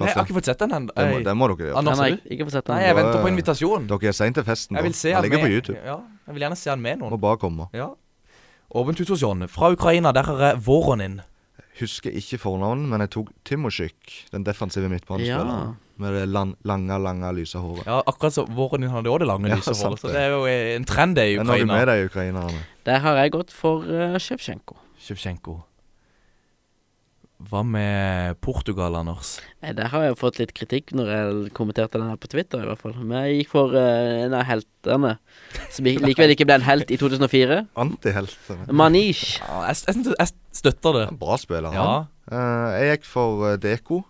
C: Nei, jeg har
D: Det
C: ikke fått sett den ennå.
D: må, det må dere gjøre.
E: Han
C: Anders,
E: har
C: har du?
E: ikke, ikke fått sett
C: Nei,
E: den.
C: jeg venter
D: Bare-
C: på invitasjon.
D: Dere er seint til festen.
C: Jeg
D: da.
C: vil se
D: Han
C: han
D: ligger på
C: med.
D: YouTube.
C: Ja, jeg vil gjerne se han med
D: Må
C: noen.
D: bare komme.
C: Ja. Åpent hus hos John. Fra Ukraina, der har jeg Voronin.
D: Husker ikke fornavnet, men jeg tok Timosjik, den defensive midtbanespilleren.
E: Ja.
D: Med det lan, lange, lange, lyse håret.
C: Ja, akkurat så Voronin hadde også det lange
D: Ja,
C: lyse
D: sant
C: håret. Så
D: det.
C: det er jo eh, en trend, det, i
D: Den har du med
C: Ukraina.
D: deg, ukrainerne.
E: Der har jeg gått for uh, Sjevtsjenko.
C: Sjevtsjenko. Hva med Portugal, Anders?
E: Nei, Der har jeg fått litt kritikk når jeg kommenterte den her på Twitter, i hvert fall. Men jeg gikk for eh, en av heltene som ik- likevel ikke ble en helt i 2004.
D: Antihelt.
E: Manish.
C: Ja, jeg, jeg, synes- jeg støtter det.
D: Bra spiller, han.
C: Ja.
D: Eh, jeg gikk for eh, Deko.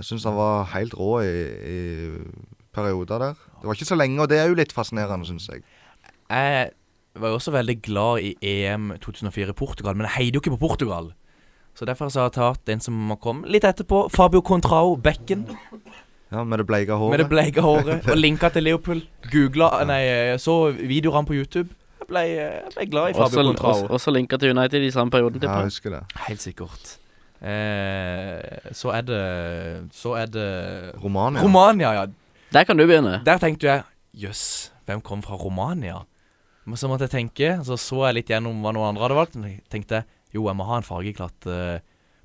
D: Jeg syns han var helt rå i, i perioder der. Det var ikke så lenge, og det er jo litt fascinerende, syns jeg.
C: Jeg var jo også veldig glad i EM 2004 i Portugal, men jeg heier jo ikke på Portugal. Så derfor så har jeg tatt en som må komme litt etterpå. Fabio Contrao, bekken
D: Ja, Med det bleika
C: med
D: håret.
C: det bleike håret og linka til Liverpool. Googla Nei, jeg så videoer han på YouTube. Jeg ble, eh, jeg ble glad i Fabio
E: Også,
C: Contrao.
E: også, også linka til United i samme perioden.
D: ja,
E: tipper
D: jeg
E: jeg.
D: husker det.
C: Helt sikkert. Eh, så er det Så er det
D: Romania.
C: Romania, ja.
E: Der kan du begynne.
C: Der tenkte jeg jøss, hvem kom fra Romania? Men så måtte jeg tenke, så så jeg litt gjennom hva noen andre hadde valgt, og tenkte jo, jeg må ha en fargeklatt eh,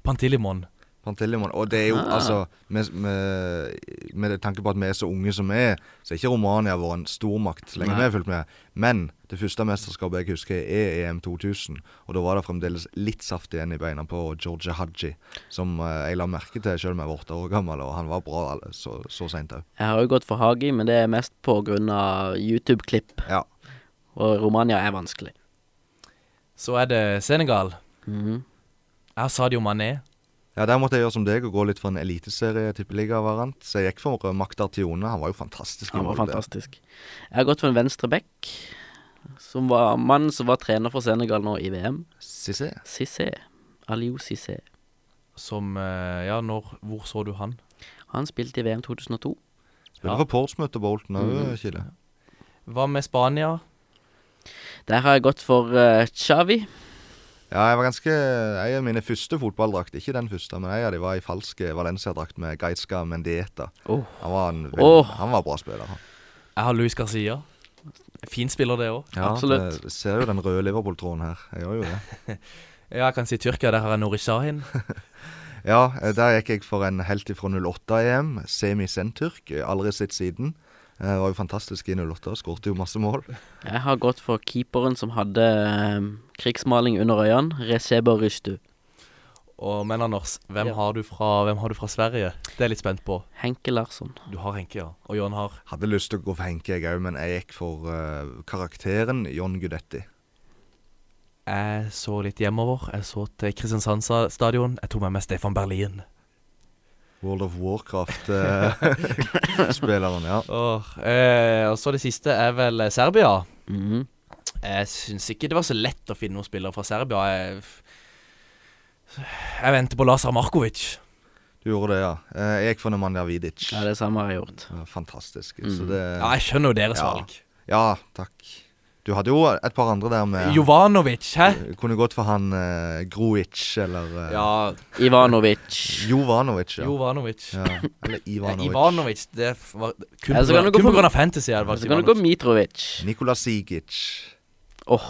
C: Pantilimon.
D: Pantelimon. Og det er jo
E: Ah.
D: altså med, med, med tanke på at vi er så unge som vi er, så er ikke Romania vår en stormakt så lenge
E: Nei.
D: vi har fulgt med. Men det første mesterskapet jeg husker, er EM 2000. Og da var det fremdeles litt saft igjen i beina på Georgia Haji, som eh, jeg la merke til selv om jeg var åtte år gammel, og han var bra alle- så, så seint òg.
E: Jeg har jo gått for Hagi, men det er mest på grunn av YouTube-klipp.
D: Ja.
E: Og Romania er vanskelig.
C: Så er det Senegal.
E: Mhm.
C: Jeg har Sadio Mané.
D: Ja, Der måtte jeg gjøre som deg og gå litt for en eliteserie-tippeliga-variant. Så jeg gikk for Magdar Tione. Han var jo fantastisk. i
E: Han var
D: mål, det.
E: fantastisk. Jeg har gått for en venstre back, som var mannen som var trener for Senegal nå i VM.
D: Cissé.
E: Cissé. Aliou Cissé.
C: Som eh, Ja, når Hvor så du han?
E: Han spilte i VM 2002.
D: Spiller
C: Ja.
D: for Portsmouth og Bolton òg,
E: Mm.
D: Kile.
C: Hva med Spania?
E: Der har jeg gått for eh, Xavi.
D: Ja, jeg var ganske En av mine første fotballdrakt, ikke den første, men en av de var i falsk eh, Valencia-drakt med Gaisca Mendieta.
E: Oh.
D: Han, var en veld...
E: Åh.
D: han var bra spiller. han.
C: Jeg har Luis Garcia. Fin spiller, det òg.
D: Ja,
E: Absolutt.
D: det- Eh, Ser jo den røde Liverpool-tråden her. Jeg gjør jo det.
C: Ja, jeg kan si Tyrkia. Der har jeg Nori Sahin.
D: Ja, eh, der gikk jeg for en helt ifra 08-EM. Semi Sentyrk. eh, Aldri sett siden. Eh, var jo fantastisk i 08, skårte jo masse mål.
E: Jeg har gått for keeperen som hadde eh, krigsmaling under øynene. Recebo Rystu.
C: Og, men Anders, hvem,
E: Ja.
C: har du fra, hvem har du fra Sverige? Det er jeg litt spent på.
E: Henke Larsson.
C: Du har Henke, ja. Og Jørn har
D: Hadde lyst til å gå for Henke, jeg òg, men jeg gikk for eh, karakteren John Gudetti.
C: Jeg så litt hjemover. Jeg så til Kristiansand sa- stadion. Jeg tok med meg Stefan Berlin.
D: World of Warcraft-spilleren, ja.
C: Åh, eh, og så det siste er vel eh, Serbia.
E: Mhm.
C: Jeg syns ikke det var så lett å finne noen spillere fra Serbia. Jeg, jeg venter på Lazar Markovic.
D: Du gjorde det, ja. Eh, Jeg gikk for Nemanja Vidic.
E: Ja, det samme har jeg gjort.
D: Ja, Fantastisk.
E: Mm.
D: Så det
C: Ja, jeg skjønner jo deres
D: Ja.
C: valg.
D: Ja, takk. Du hadde jo et par andre der med
C: Jovanovic, hæ?
D: Kunne gått for han eh, Gruic eller eh,
C: Ja,
E: Ivanovic.
D: Jovanovic. Ja.
C: Jovanovic.
D: ja. Eller Ivanovic.
C: Ivanovic. Ivanovic det f- var kun
E: Eller så kan du gå for-
C: pga. fantasy. Jeg hadde valgt
E: Så kan du gå
C: Ivanovic.
E: Mitrovic.
D: Nikola Sigic.
E: Åh,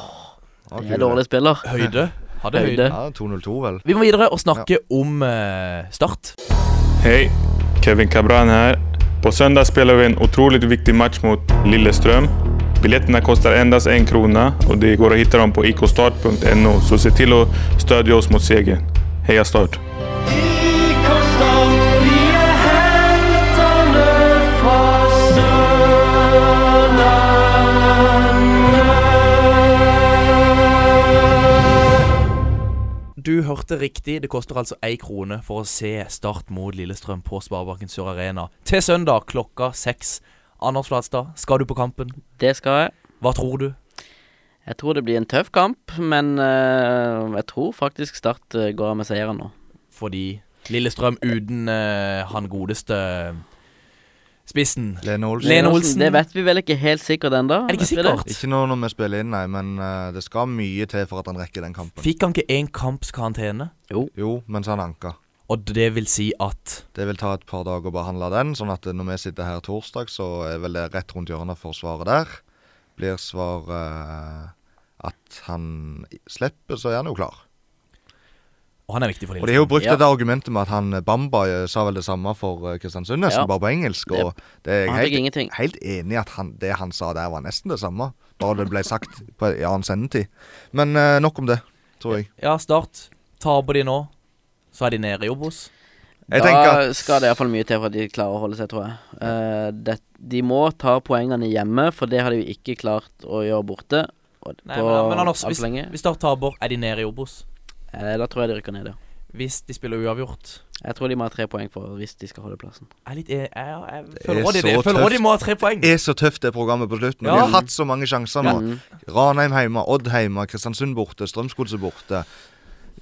D: Ja,
E: det
D: kul.
E: er dårlig spiller.
C: Høyde. Hadde høyde.
E: Høyde.
D: Ja, 202, vel.
C: Vi må videre og snakke om eh, Start.
H: Hej, Kevin Cabran här. På söndag spelar vi en otroligt viktig match mot Lilleström. Biljetterna kostar endast en krona och det går att hitta dem på ikostart.no. Så se till att stödja oss mot segern. Heja Start!
C: Du hørte riktig. Det koster altså ei krone for å se Start mot Lillestrøm på Sparebanken Sør Arena til søndag klokka seks. Anders Flatstad, skal du på kampen?
E: Det skal jeg.
C: Hva tror du?
E: Jeg tror det blir en tøff kamp, men eh, jeg tror faktisk Start eh, går av med seieren nå.
C: Fordi Lillestrøm uten eh, han godeste spissen
D: Lene Olsen.
C: Lene Olsen.
E: Det vet vi vel ikke helt sikkert ennå.
C: Er det ikke sikkert?
D: Ikke nå når vi spiller inn, nei, men eh, det skal mye til for at han rekker den kampen.
C: Fikk han ikke én kamps karantene?
D: Jo, mens han anka.
C: Og det vil si at
D: Det vil ta et par dager å behandle den, sånn at når vi sitter her torsdag, så er vel det rett rundt hjørnet for svaret der. Blir svaret eh, at han slipper, så er han jo klar.
C: Og han er viktig for
D: Og de har jo
C: Lillestrøm.
D: brukt
E: Ja.
D: dette argumentet med at han eh, Bamba eh, sa vel det samme for eh, Kristiansund, nesten
E: Ja.
D: bare på engelsk. Og det er
E: Han
D: jeg
E: fikk
D: helt,
E: ingenting.
D: helt enig i at han, det han sa der, var nesten det samme. Bare det ble sagt på en annen sendetid. Men eh, nok om det, tror jeg.
C: Ja, Start. Taper de nå, så er de nede i Obos.
D: Jeg tenker
E: Da
D: at
E: skal det iallfall mye til for at de klarer å holde seg, tror jeg. Eh, det, de må ta poengene hjemme, for det har de jo ikke klart å gjøre borte. Og,
C: Nei,
E: på
C: men, men Anders,
E: alt
C: hvis,
E: for lenge.
C: hvis Start taper, er de nede i Obos.
E: Eh, da tror jeg de rykker ned, ja.
C: Hvis de spiller uavgjort
E: Jeg tror de må ha tre poeng for hvis de skal holde plassen.
C: Jeg er litt jeg, jeg, jeg
D: er
C: føler også de,
D: så
C: jeg føler også de
D: tøft.
C: må ha tre poeng.
D: det er så tøft, det programmet på slutten. Og
C: Ja.
D: De har hatt så mange sjanser nå.
E: Mm.
D: Ranheim hjemme, Odd hjemme, Kristiansund borte, Strømsgodset borte.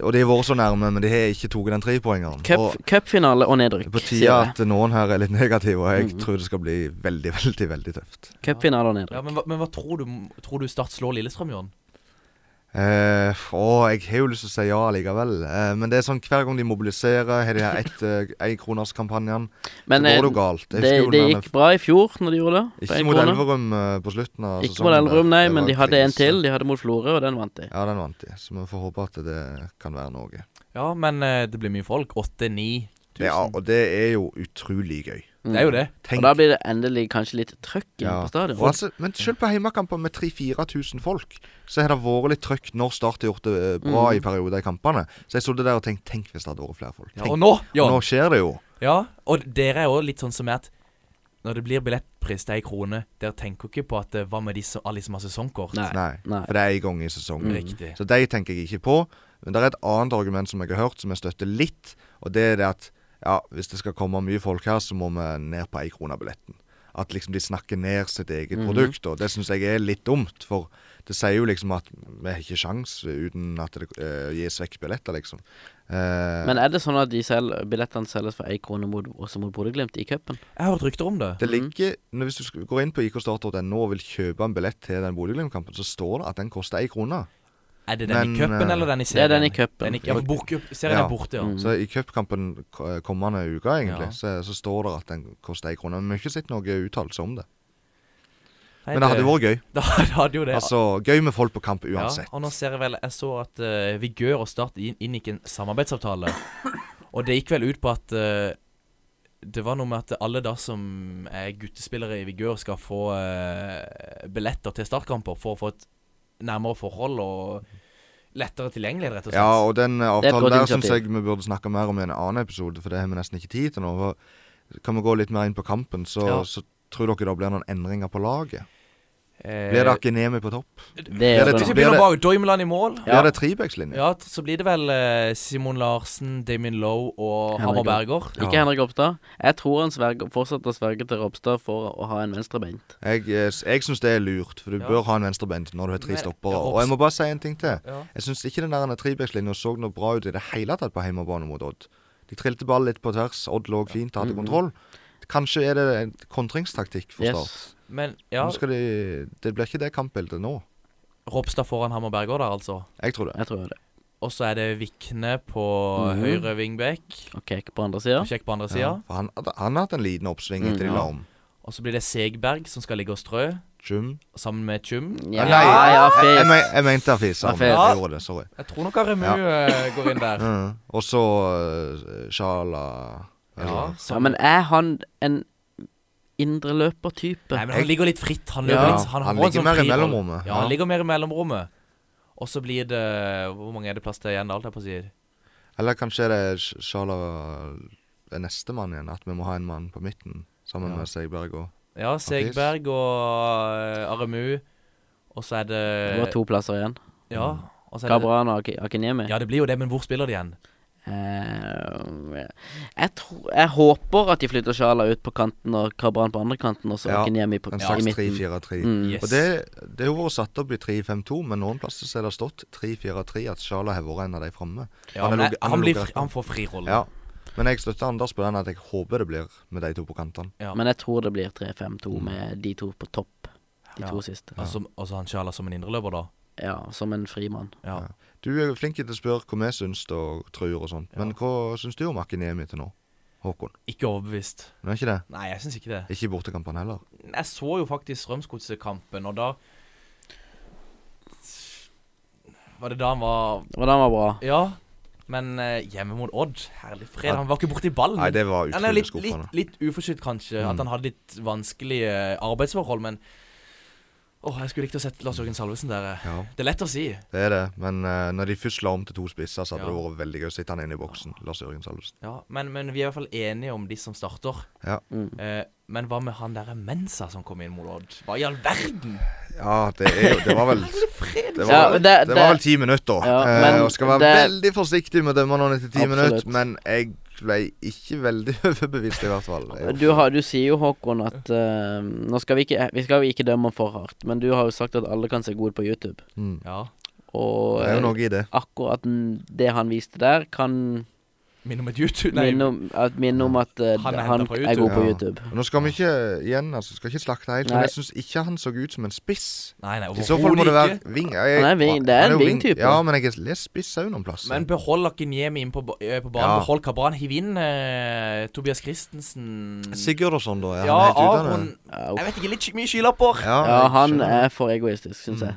D: Og de har vært så nærme, men de har ikke tatt den trepoengeren.
E: Cup-
D: Og
E: Cupfinale og
D: det
E: nedrykk.
D: er på
E: sier
D: tide
E: jeg.
D: at noen her er litt negative, og jeg
E: Mhm.
D: tror det skal bli veldig, veldig veldig tøft.
E: Cupfinale og nedrykk.
C: Ja, men, hva- men hva tror du Tror du Start slår Lillestrøm, Jørn?
D: Eh, å, jeg har jo lyst til å si ja likevel. Eh, men det er sånn hver gang de mobiliserer, har de her ett, eh, enkronerskampanjen, så
E: Men, eh,
D: går det jo galt. Jeg
E: det,
D: husker jo
E: det
D: den
E: gikk bra i fjor når de gjorde det. på
D: Ikke
E: en
D: mot
E: krone.
D: Elverum eh, på slutten av
E: Ikke
D: sesongen.
E: mot Elverum, nei,
D: Det
E: men
D: var
E: de hadde en
D: krise.
E: til. De hadde mot Florø, og den vant de.
D: Ja, den vant de, så vi får håpe at det kan være noe.
C: Ja, men eh, det blir mye folk. 8-9
D: Det, ja,
C: 1000.
D: og det er jo utrolig gøy.
C: Det er jo det.
E: Og da blir det endelig kanskje litt trøkk inne
D: Ja.
E: på stadion.
D: Og altså, men selv på hjemmekamper med 3000-4000 folk, så har det vært litt trøkk når Start har gjort det eh, bra
E: Mm.
D: i perioder i kampene. Så jeg stod der og tenkte tenk hvis det hadde vært flere folk.
C: Ja, og
D: Tenk.
C: nå,
D: Og
C: Jørn.
D: nå skjer det jo.
C: Ja, og dere er jo litt sånn som er at når det blir billettpris til ei krone, dere tenker ikke på at eh, hva med de som, alle de som har sesongkort?
E: Nei.
D: Nei,
E: Nei.
D: for det er en gang i sesongen.
C: Riktig.
D: Så de tenker jeg ikke på. Men det er et annet argument som jeg har hørt, som jeg støtter litt. Og det er det at ja, hvis det skal komme mye folk her, så må vi ned på ei krone billetten. At liksom de snakker ned sitt eget
E: Mhm.
D: produkt. Og det syns jeg er litt dumt. For det sier jo liksom at vi har ikke sjans uten at det eh, gis vekk billetter, liksom. Eh,
E: Men er det sånn at de selv, billettene selges for én krone mot, også mot Bodø-Glimt i cupen?
C: Jeg har hørt rykter om det.
D: det
E: Mhm.
D: ligger, når Hvis du sk- går inn på ikstart.no og vil kjøpe en billett til den Bodø-Glimt-kampen, så står det at den koster ei krone.
C: Er det den
D: Men,
C: i cupen
D: eh,
C: eller den i
E: Det er
C: serien?
E: den i cupen.
C: Den i, ja, for bok- serien
D: Ja.
C: er borte, ja.
E: Mm.
D: Så i cupkampen k- kommende uke, egentlig,
C: Mhm. Ja.
D: så, så står det at den koster ei krone. Men vi har ikke sett noe uttalelse om det.
C: Nei,
D: Men det hadde vært gøy.
C: Det hadde jo det.
D: Altså, gøy med folk på kamp
C: Ja,
D: uansett.
C: og nå ser jeg vel Jeg så at eh, Vigør og Start inn, inngikk en samarbeidsavtale. Og det gikk vel ut på at eh, det var noe med at alle da som er guttespillere i Vigør, skal få eh, billetter til startkamper for å få et nærmere forhold og lettere tilgjengelighet, rett og slett.
D: Ja, og den eh,
E: Det er et
D: avtalen
E: godt
D: der syns
E: initiativ.
D: jeg vi burde snakke mer om i en annen episode, for det har vi nesten ikke tid til nå. For kan vi gå litt mer inn på kampen, så,
C: Ja.
D: så tror dere det blir noen endringer på laget?
C: Eh,
D: Blir det Akinemi på topp?
C: Blir det,
E: sånn.
C: det,
D: blir det,
C: bak Doimeland i mål.
D: blir det trebekslinje?
C: Ja, t- så blir det vel eh, Simon Larsen, Damien Lowe og Hammer Berger.
E: Ikke Henrik Ropstad. Jeg tror han sverger, fortsetter å sverge til Ropstad for å ha en venstrebeint.
D: Jeg, eh, s- jeg syns det er lurt, for du
E: Ja.
D: bør ha en venstrebeint når du har tre
E: Men-
D: stoppere.
E: ja,
D: Og jeg må bare si en ting til.
E: Ja.
D: Jeg syns ikke den der trebekslinja så noe bra ut i det hele tatt på hjemmebane mot Odd. De trilte ballen litt på tvers, Odd lå fint, hadde
C: Mhm.
D: kontroll. Kanskje er det en kontringstaktikk for
C: Yes.
D: Start.
C: Men, ja.
D: Nå skal de, det blir ikke det kampbildet nå.
C: Ropstad foran Hammer Berger der, altså.
D: Jeg tror det.
E: Jeg tror det.
C: Og så er det Vikne på
E: Mhm.
C: høyre wingback.
E: Og Kek på andre sida.
C: Og Kjekk på andre
D: Ja,
C: sida.
D: for han, hadde- han har hatt en liten oppsving etter de la om.
C: Og så blir det Segberg som skal ligge og strø.
D: Tjum.
C: Sammen med Tjum.
D: Ja, Nei, ja, fes. jeg- jeg men- jeg mente å fise, Ja, men fes. jeg gjorde det, sorry.
C: Jeg tror nok Aremu
D: Ja.
C: eh, går inn der.
D: Mm. Og så eh, Sjala eller-
E: Ja, men er han en indreløpertype?
C: Nei, men han ligger litt fritt. Han,
E: Ja.
C: løper litt, han, har en sånn
D: mer i
C: fri roll.
D: mellomrommet.
C: Ja, han
D: Ja.
C: ligger mer i mellomrommet. Og så blir det Hvor mange er det plass til igjen, da, holdt jeg på å si?
D: Eller kanskje det er Sj- Sjala er nestemann igjen. At vi må ha en mann på midten sammen
C: Ja.
D: med Segberg og
C: Ja, Segberg og eh, Aremu. Og så er det
E: Det var to plasser igjen.
C: Ja. Og så eh, er det
E: Gabran og Aki- Akinemi.
C: Ja, det blir jo det, men hvor spiller de igjen?
E: Eh, jeg, tror, jeg håper at de flytter Sjala ut på kanten og Kabran på andre kanten, og så
D: Ja,
E: Akinemi på,
D: en
E: i
D: slags
E: midten.
D: 3-4-3.
E: Mm.
D: Og det, det har vært satt opp i 3-5-2, men noen plasser så er det stått 3-4-3 at Sjala har vært en av de framme.
C: Ja, men jeg- han blir fri- han får fri rolle.
D: Ja. Men jeg støtter Anders på den at jeg håper det blir med de to på kantene.
E: Men jeg tror det blir 3-5-2 med de to på topp. De
C: Mm. Ja.
E: to siste.
C: Og så- og så Altså, han Sjala som en indreløper, da?
E: Ja, som en frimann.
C: Ja.
D: Du er jo flink til å spørre hva vi syns og tror og sånt, men hva syns du om Akinemi til nå, Håkon?
C: Ikke overbevist.
D: Men ikke det?
C: Nei, jeg syns ikke det.
D: Ikke i bortekampene heller?
C: Jeg så jo faktisk Strømsgodset-kampen, og da Var det da han var
E: Og den var bra.
C: Ja. Men eh, hjemme mot Odd, herlig fred,
D: Ja.
C: han var ikke borti ballen.
D: Nei, det var
C: Han er jo litt,
D: utrolig skuffende.
C: litt, litt uforskyldt, kanskje,
D: Mm.
C: at han hadde litt vanskelige eh, arbeidsforhold, men Åh, jeg skulle likt å sett Lars Jørgen Salvesen der. eh.
D: Ja.
C: Det er lett å si.
D: Det er det, men eh, når de først la om til to spisser, så
C: Ja.
D: hadde det vært veldig gøy å sitte han inne i boksen. Lars Jørgen Salvesen.
C: Ja, men, men vi er i hvert fall enige om de som starter.
D: Ja.
C: Eh, men hva med han derre Mensa som kom inn mot Odd? Hva i all verden?
D: Ja, det er jo Det var vel Det var,
C: Ja, men det-
D: det var vel
C: det-
D: ti minutter.
C: Ja,
D: eh,
C: men
D: og skal være
C: det-
D: veldig forsiktig med å dømme noen etter ti
E: Absolutt.
D: minutter, men jeg ble ikke veldig overbevist, i hvert fall. Jeg-
E: Du, har, du sier jo, Håkon, at eh, nå skal vi, ikke, vi skal jo ikke dømme for hardt, men du har jo sagt at alle kan se gode på YouTube.
D: Mm.
C: Ja.
E: Og
D: Det er jo
E: eh,
D: noe i det.
E: akkurat n- det han viste der, kan
C: Minne om et YouTube- nei.
E: Minne om at, minne om at eh,
C: Han
E: han,
C: er hentet fra
E: er god på
D: Ja.
E: YouTube.
D: Og Nå skal vi ikke igjen, altså, skal ikke slakte helt,
E: Nei.
D: men jeg syns ikke han så ut som en spiss.
C: Nei, nei,
D: I så fall må det
C: overhodet
D: være
C: ikke.
D: ving.
C: Han er ving- det er
D: han
C: en
D: jo ving-
C: vingtype.
D: Ja, men jeg leser spiss òg noen plasser.
C: Men behold Akinyemi inn på, ba- eh, på banen.
D: Ja.
C: Behold Kabran. Hiv inn eh, Tobias Christensen.
D: Sigurd og sånn, da. Er
C: Ja,
D: han helt ute?
C: Aron.
D: eller?
C: Jeg vet ikke, litt mye skylapper.
D: Ja,
E: Ja,
D: jeg
E: han
D: skjønner.
E: er for egoistisk, syns
D: Mm.
E: jeg.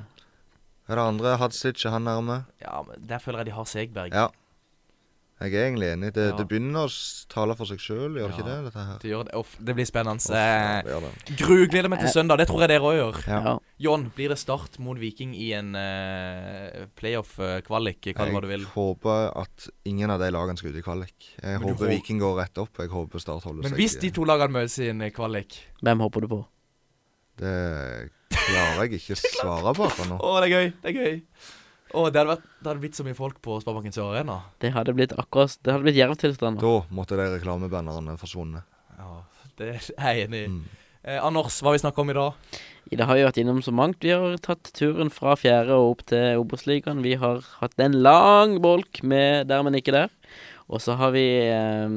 D: Er det andre Hadzic er han nærme?
C: Ja, men Der føler jeg de har Segberg.
D: Ja. Jeg er egentlig enig. Det,
C: Ja.
D: det begynner å s- tale for seg sjøl, gjør det ikke det? dette her?
C: Det, gjør det. Uff, det blir spennende.
D: ja, det gjør det.
C: Gru, gleder meg til søndag. Det tror jeg dere òg gjør.
D: Ja. Ja.
C: John, blir det start mot Viking i en eh, playoff-kvalik? Kall det hva du vil.
D: Jeg håper at ingen av de lagene skal ut i kvalik. Jeg
C: Men du
D: håper
C: håper-
D: Viking går rett opp. Jeg håper Start holder
C: Men
D: seg
C: hvis de to lagene møtes i en eh, kvalik
E: Hvem håper du på?
D: Det klarer jeg ikke å svare på akkurat nå.
C: Å, det er gøy! Det er gøy. Å, det hadde, vært, det hadde blitt så mye folk på Sparebanken Sør Arena.
E: Det hadde blitt akkurat Det hadde blitt jervtilstander.
D: Da måtte de reklamebannerne Mm. forsvunnet.
C: Ja, det er jeg enig i. Eh, Anders, hva har vi snakket om i dag?
E: Det har jo vært innom så mangt. Vi har tatt turen fra fjerde og opp til Obos-ligaen. Vi har hatt en lang bolk med der, men ikke der. Og så har vi eh,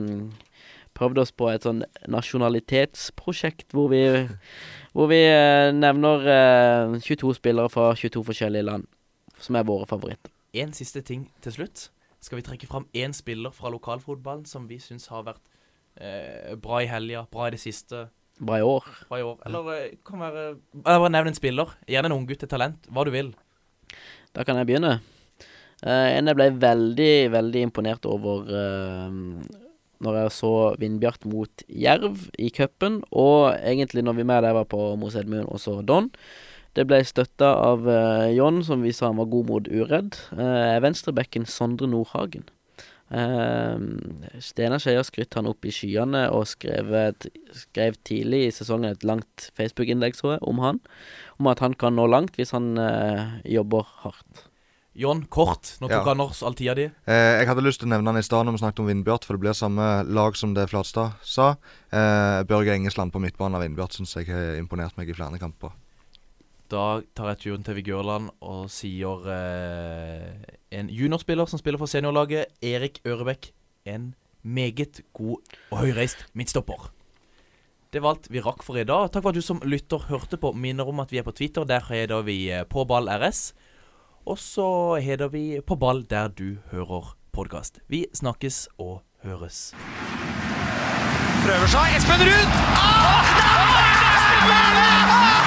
E: prøvd oss på et sånn nasjonalitetsprosjekt hvor vi, hvor vi eh, nevner eh, 22 spillere fra 22 forskjellige land, som er våre favoritter.
C: En siste ting til slutt. Skal vi trekke fram én spiller fra lokalfotballen som vi syns har vært eh, bra i helga, bra i det siste,
E: Bra i år.
C: bra i år? Eller eh, kan være Eller bare nevn en spiller. Gjerne en unggutt, et talent. Hva du vil.
E: Da kan jeg begynne. Eh, en jeg ble veldig, veldig imponert over eh, når jeg så Vindbjart mot Jerv i cupen, og egentlig når vi med der var på Mosedmuen og så Don. Det ble støtta av eh, John, som vi sa han var god mot uredd. Uh, venstrebekken Sondre Eh, Nordhagen. Eh, Steinar Skeie har skrytt han opp i skyene og skrevet, skrev tidlig i sesongen et langt Facebook-innlegg tror jeg, om han. Om at han kan nå langt hvis han eh, jobber hardt.
C: John, kort. Nå tok
D: Ja.
C: han oss all tida di.
D: Eh, jeg hadde lyst til å nevne han i stad når vi snakket om Vindbjart, for det blir samme lag som det Flatstad sa. Eh, Børge Engesland på midtbanen av Vindbjart syns jeg har imponert meg i flere kamper.
C: Da tar jeg turen til Vigørland og sier eh, en juniorspiller som spiller for seniorlaget, Erik Ørebekk. En meget god og høyreist midtstopper. Det var alt vi rakk for i dag. Takk for at du som lytter hørte på. Minner om at vi er på Twitter. Der heter vi eh, På ball RS. Og så heter vi På ball der du hører podkast. Vi snakkes og høres.
B: Prøver seg. Espen Ruud! Ah! Nei! Espen Mæle! Ah! Ah!